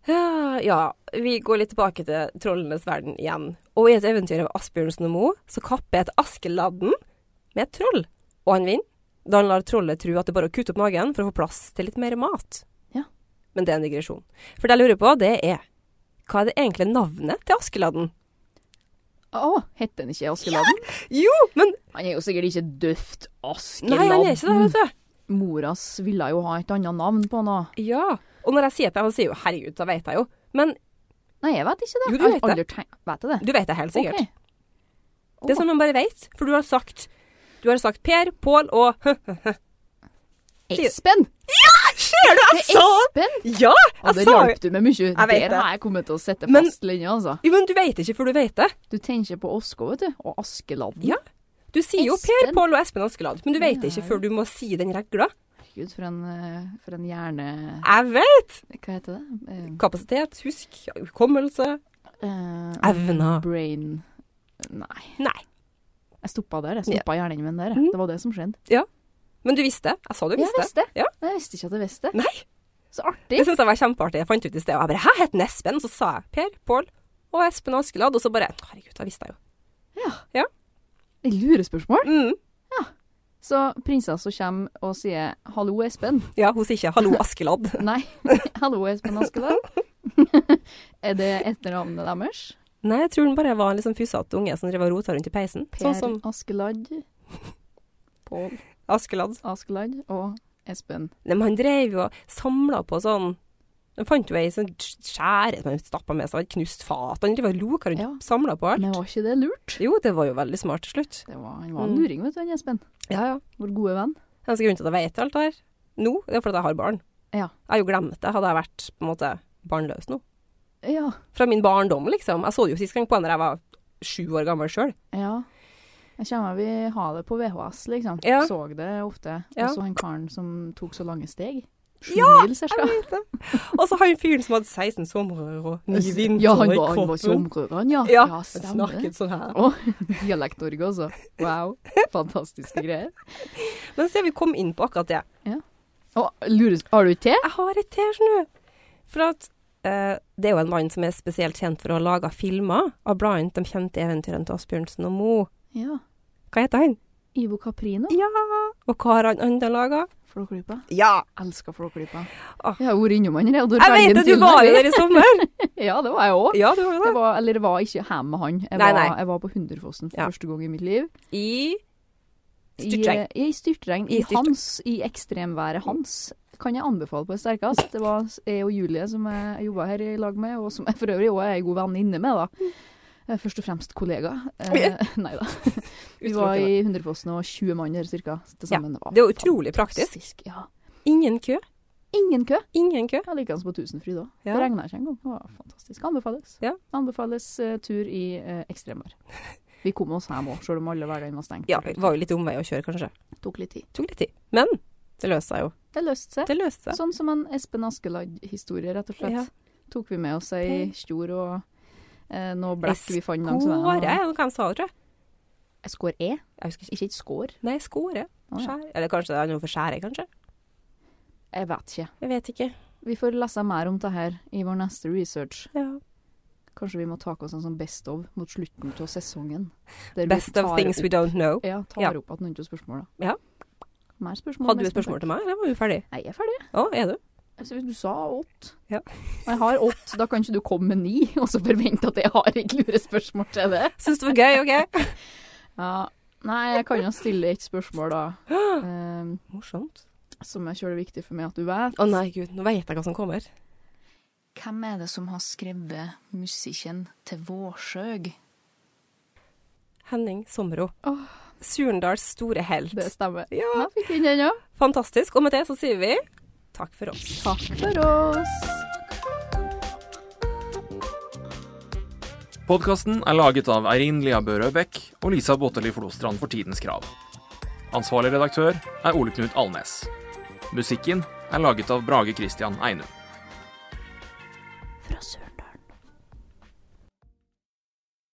[SPEAKER 2] Ja, ja, vi går litt tilbake til trollenes verden igjen. Og i et eventyr av Asbjørnsen og Moe, så kapper et Askeladden med et troll. Og han vinner. Da han lar trollet tro at det bare er å kutte opp magen for å få plass til litt mer mat.
[SPEAKER 3] Ja.
[SPEAKER 2] Men det er en digresjon. For det jeg lurer på, det er Hva er det egentlig navnet til Askeladden?
[SPEAKER 3] Å, heter den ikke Askeladden?
[SPEAKER 2] Jo, men
[SPEAKER 3] Han er jo sikkert ikke døft
[SPEAKER 2] Nei,
[SPEAKER 3] Askeladden.
[SPEAKER 2] han er ikke det, vet du.
[SPEAKER 3] Moras ville jo ha et annet navn på han da.
[SPEAKER 2] Ja. Og når jeg sier det, han sier jo 'herregud', da vet jeg jo. Men
[SPEAKER 3] Nei, jeg vet ikke det.
[SPEAKER 2] Jo, du
[SPEAKER 3] Jeg har
[SPEAKER 2] vet det.
[SPEAKER 3] aldri tenkt- Vet jeg det?
[SPEAKER 2] du vet det helt sikkert.
[SPEAKER 3] Ok.
[SPEAKER 2] Det er sånn man bare vet. For du har sagt Du har sagt Per, Pål og Sier-
[SPEAKER 3] Espen!
[SPEAKER 2] Ser du, jeg
[SPEAKER 3] Det er
[SPEAKER 2] sa
[SPEAKER 3] Espen!
[SPEAKER 2] Ja!
[SPEAKER 3] Og
[SPEAKER 2] Jeg
[SPEAKER 3] det
[SPEAKER 2] sa jo
[SPEAKER 3] hjalp du med mye.
[SPEAKER 2] Jeg vet
[SPEAKER 3] Der
[SPEAKER 2] det.
[SPEAKER 3] har jeg kommet til å sette
[SPEAKER 2] Men-
[SPEAKER 3] fast linja, altså.
[SPEAKER 2] Jo, men du vet ikke før du vet det.
[SPEAKER 3] Du tenker på Osko, vet du. Og Askeladden.
[SPEAKER 2] Ja. Du sier jo Per,
[SPEAKER 3] Espen.
[SPEAKER 2] Pål og Espen Askeladd, men du vet
[SPEAKER 3] Ja,
[SPEAKER 2] ikke
[SPEAKER 3] ja.
[SPEAKER 2] før du må si den regla.
[SPEAKER 3] Gud, for en, eh, for en hjerne...
[SPEAKER 2] Jeg vet!
[SPEAKER 3] Hva heter det? Eh,
[SPEAKER 2] Kapasitet, husk, hukommelse
[SPEAKER 3] eh,
[SPEAKER 2] Evner.
[SPEAKER 3] Brain... Nei.
[SPEAKER 2] Nei.
[SPEAKER 3] Jeg stoppa der. Jeg stoppa hjernen min der. jeg.
[SPEAKER 2] Mm.
[SPEAKER 3] Det var det som skjedde.
[SPEAKER 2] Men du visste. Jeg sa du
[SPEAKER 3] Jeg
[SPEAKER 2] visste.
[SPEAKER 3] visste.
[SPEAKER 2] Ja.
[SPEAKER 3] Nei, Jeg visste ikke at jeg visste.
[SPEAKER 2] Nei.
[SPEAKER 3] Så artig.
[SPEAKER 2] Det syns jeg var kjempeartig. Jeg fant ut i sted, og jeg bare Hæ, het den Espen? Så sa jeg Per, Pål og Espen Askeladd, og så bare Herregud, det visste jeg jo.
[SPEAKER 3] Ja.
[SPEAKER 2] Ja.
[SPEAKER 3] Lurespørsmål.
[SPEAKER 2] Mm.
[SPEAKER 3] Så prinsessa kommer og sier 'hallo, Espen'.
[SPEAKER 2] Ja, hun sier ikke 'hallo, Askeladd'.
[SPEAKER 3] Nei, 'hallo, Espen Askeland'. er det etternavnet deres?
[SPEAKER 2] Nei, jeg tror den bare var en liksom fysete unge som drev og rota rundt i peisen.
[SPEAKER 3] Per
[SPEAKER 2] Sånn som
[SPEAKER 3] Askeladd, Pål
[SPEAKER 2] Askeladd.
[SPEAKER 3] Askeladd og Espen.
[SPEAKER 2] Nei, men han drev jo og samla på sånn De fant jo ei sånn skjære som han stappa med seg, og hadde knust fat. Han driver og loka rundt,
[SPEAKER 3] Ja.
[SPEAKER 2] samla på alt.
[SPEAKER 3] Men var ikke det lurt?
[SPEAKER 2] Jo, det var jo veldig smart til slutt.
[SPEAKER 3] Det var, han var en
[SPEAKER 2] Mm.
[SPEAKER 3] luring, vet du, han Espen.
[SPEAKER 2] Ja, ja.
[SPEAKER 3] Vår gode venn.
[SPEAKER 2] Eneste grunnen til at jeg vet alt det her nå, det er fordi jeg har barn.
[SPEAKER 3] Ja.
[SPEAKER 2] Jeg har jo glemt det, hadde jeg vært på en måte barnløs nå.
[SPEAKER 3] Ja.
[SPEAKER 2] Fra min barndom, liksom. Jeg så det jo sist gang på da jeg var sju år gammel sjøl.
[SPEAKER 3] ja. Jeg kommer vi ha det på VHS, liksom.
[SPEAKER 2] Ja.
[SPEAKER 3] Så det ofte.
[SPEAKER 2] Ja.
[SPEAKER 3] Og så han karen som tok så lange steg. Sju
[SPEAKER 2] Ja,
[SPEAKER 3] mil, cirka.
[SPEAKER 2] Og så han fyren som hadde 16 somre og ni vintre
[SPEAKER 3] Ja, han
[SPEAKER 2] i
[SPEAKER 3] var, han var
[SPEAKER 2] kroppen.
[SPEAKER 3] somreren, ja.
[SPEAKER 2] Ja,
[SPEAKER 3] stemmer.
[SPEAKER 2] Snakket sånn her.
[SPEAKER 3] Dialekt-Norge også. Wow. Fantastiske greier.
[SPEAKER 2] Men se, vi kom inn på akkurat det.
[SPEAKER 3] Og lurer, har du ikke te?
[SPEAKER 2] Jeg har et til, skjønner du. For at eh, det er jo en mann som er spesielt kjent for å ha laga filmer av blant de kjente eventyrene til Asbjørnsen og Moe.
[SPEAKER 3] Ja.
[SPEAKER 2] Hva heter han?
[SPEAKER 3] Ivo Caprino.
[SPEAKER 2] Ja. Og hva har han andre laga?
[SPEAKER 3] Flåklypa.
[SPEAKER 2] Ja.
[SPEAKER 3] Elsker Flåklypa.
[SPEAKER 2] Ah.
[SPEAKER 3] Jeg har vært innom han, jeg. og
[SPEAKER 2] Jeg
[SPEAKER 3] Bergen
[SPEAKER 2] vet det, du
[SPEAKER 3] til
[SPEAKER 2] var jo
[SPEAKER 3] deg.
[SPEAKER 2] der i sommer.
[SPEAKER 3] Ja, det var jeg òg.
[SPEAKER 2] Ja, du var jo
[SPEAKER 3] Jeg
[SPEAKER 2] det.
[SPEAKER 3] var, eller jeg var ikke hjemme med han. Jeg,
[SPEAKER 2] Nei,
[SPEAKER 3] var,
[SPEAKER 2] nei.
[SPEAKER 3] jeg var på Hunderfossen for
[SPEAKER 2] Ja.
[SPEAKER 3] første gang i mitt liv.
[SPEAKER 2] I
[SPEAKER 3] I- eh,
[SPEAKER 2] Styrtregn.
[SPEAKER 3] I, styrtregn.
[SPEAKER 2] I
[SPEAKER 3] I,
[SPEAKER 2] styrtregn.
[SPEAKER 3] hans, i ekstremværet hans. Kan jeg anbefale på det sterkeste. Det var jeg og Julie som jeg jobba her i lag med, og som jeg for øvrig òg er ei god venninne med, da. Eh, Først og fremst kollega. Eh, nei da. Vi var
[SPEAKER 2] Utelukkende.
[SPEAKER 3] i Hunderfossen og 20 mann her cirka til
[SPEAKER 2] Ja,
[SPEAKER 3] sammen. var
[SPEAKER 2] det er jo utrolig praktisk.
[SPEAKER 3] fantastisk, Ja.
[SPEAKER 2] Ingen kø.
[SPEAKER 3] Ingen kø.
[SPEAKER 2] Ingen kø.
[SPEAKER 3] Jeg liker den på Tusenfryd òg.
[SPEAKER 2] Ja.
[SPEAKER 3] Det regna ikke engang. Det var fantastisk. Anbefales.
[SPEAKER 2] Ja.
[SPEAKER 3] Anbefales eh, tur i eh, ekstremvær. Vi kom oss hjem òg, selv om alle hverdagen var stengt.
[SPEAKER 2] Ja, det var jo litt omvei å kjøre, kanskje.
[SPEAKER 3] tok litt tid.
[SPEAKER 2] Tok litt tid. Men det løste seg jo.
[SPEAKER 3] Det løste seg.
[SPEAKER 2] Det løste seg.
[SPEAKER 3] Sånn som en Espen Askeladd-historie, rett og slett.
[SPEAKER 2] Ja.
[SPEAKER 3] Tok vi med oss ei kjor og eh, noe blekk vi fant langs veien.
[SPEAKER 2] Skåre er noe han sa, tror jeg.
[SPEAKER 3] Eh, Skår E,
[SPEAKER 2] Jeg husker ikke.
[SPEAKER 3] ikke et skår.
[SPEAKER 2] Nei, skåre.
[SPEAKER 3] Å, ja.
[SPEAKER 2] Skjær. Eller kanskje det er noe for skjære, kanskje.
[SPEAKER 3] Jeg vet ikke.
[SPEAKER 2] Jeg vet ikke.
[SPEAKER 3] Vi får lese mer om det her i vår neste research.
[SPEAKER 2] Ja.
[SPEAKER 3] Kanskje vi må ta oss en sånn best of mot slutten av sesongen. der vi
[SPEAKER 2] Best of
[SPEAKER 3] tar
[SPEAKER 2] things we
[SPEAKER 3] opp-
[SPEAKER 2] don't know.
[SPEAKER 3] Ja, tar
[SPEAKER 2] Ja.
[SPEAKER 3] opp at noen av spørsmålene.
[SPEAKER 2] Ja.
[SPEAKER 3] Mer spørsmål.
[SPEAKER 2] Hadde du et spørsmål til meg, eller var du ferdig?
[SPEAKER 3] Nei, jeg er ferdig.
[SPEAKER 2] Å, er du?
[SPEAKER 3] Altså, du sa åtte.
[SPEAKER 2] Ja.
[SPEAKER 3] Og jeg har åtte, da kan ikke du komme med ni, og så forvente at jeg har et lurespørsmål til det.
[SPEAKER 2] Syns det var gøy, OK?
[SPEAKER 3] Ja. Nei, jeg kan jo stille et spørsmål da, eh,
[SPEAKER 2] Morsomt.
[SPEAKER 3] som er kjølig viktig for meg at du vet.
[SPEAKER 2] Å nei, gud, nå vet jeg hva som kommer.
[SPEAKER 3] Hvem er det som har skrevet musikken til Vårsøg?
[SPEAKER 2] Henning Somro.
[SPEAKER 3] Åh.
[SPEAKER 2] Surendals store helt.
[SPEAKER 3] Det stemmer.
[SPEAKER 2] Ja.
[SPEAKER 3] Da fikk vi inn den, ja.
[SPEAKER 2] Fantastisk. Og med det så sier vi takk for oss.
[SPEAKER 3] Takk for oss.
[SPEAKER 1] Podkasten er laget av Eirin Lia Børø Bech og Lisa Botteli Flostrand for Tidens Krav. Ansvarlig redaktør er Ole Knut Alnes. Musikken er laget av Brage Christian Einum.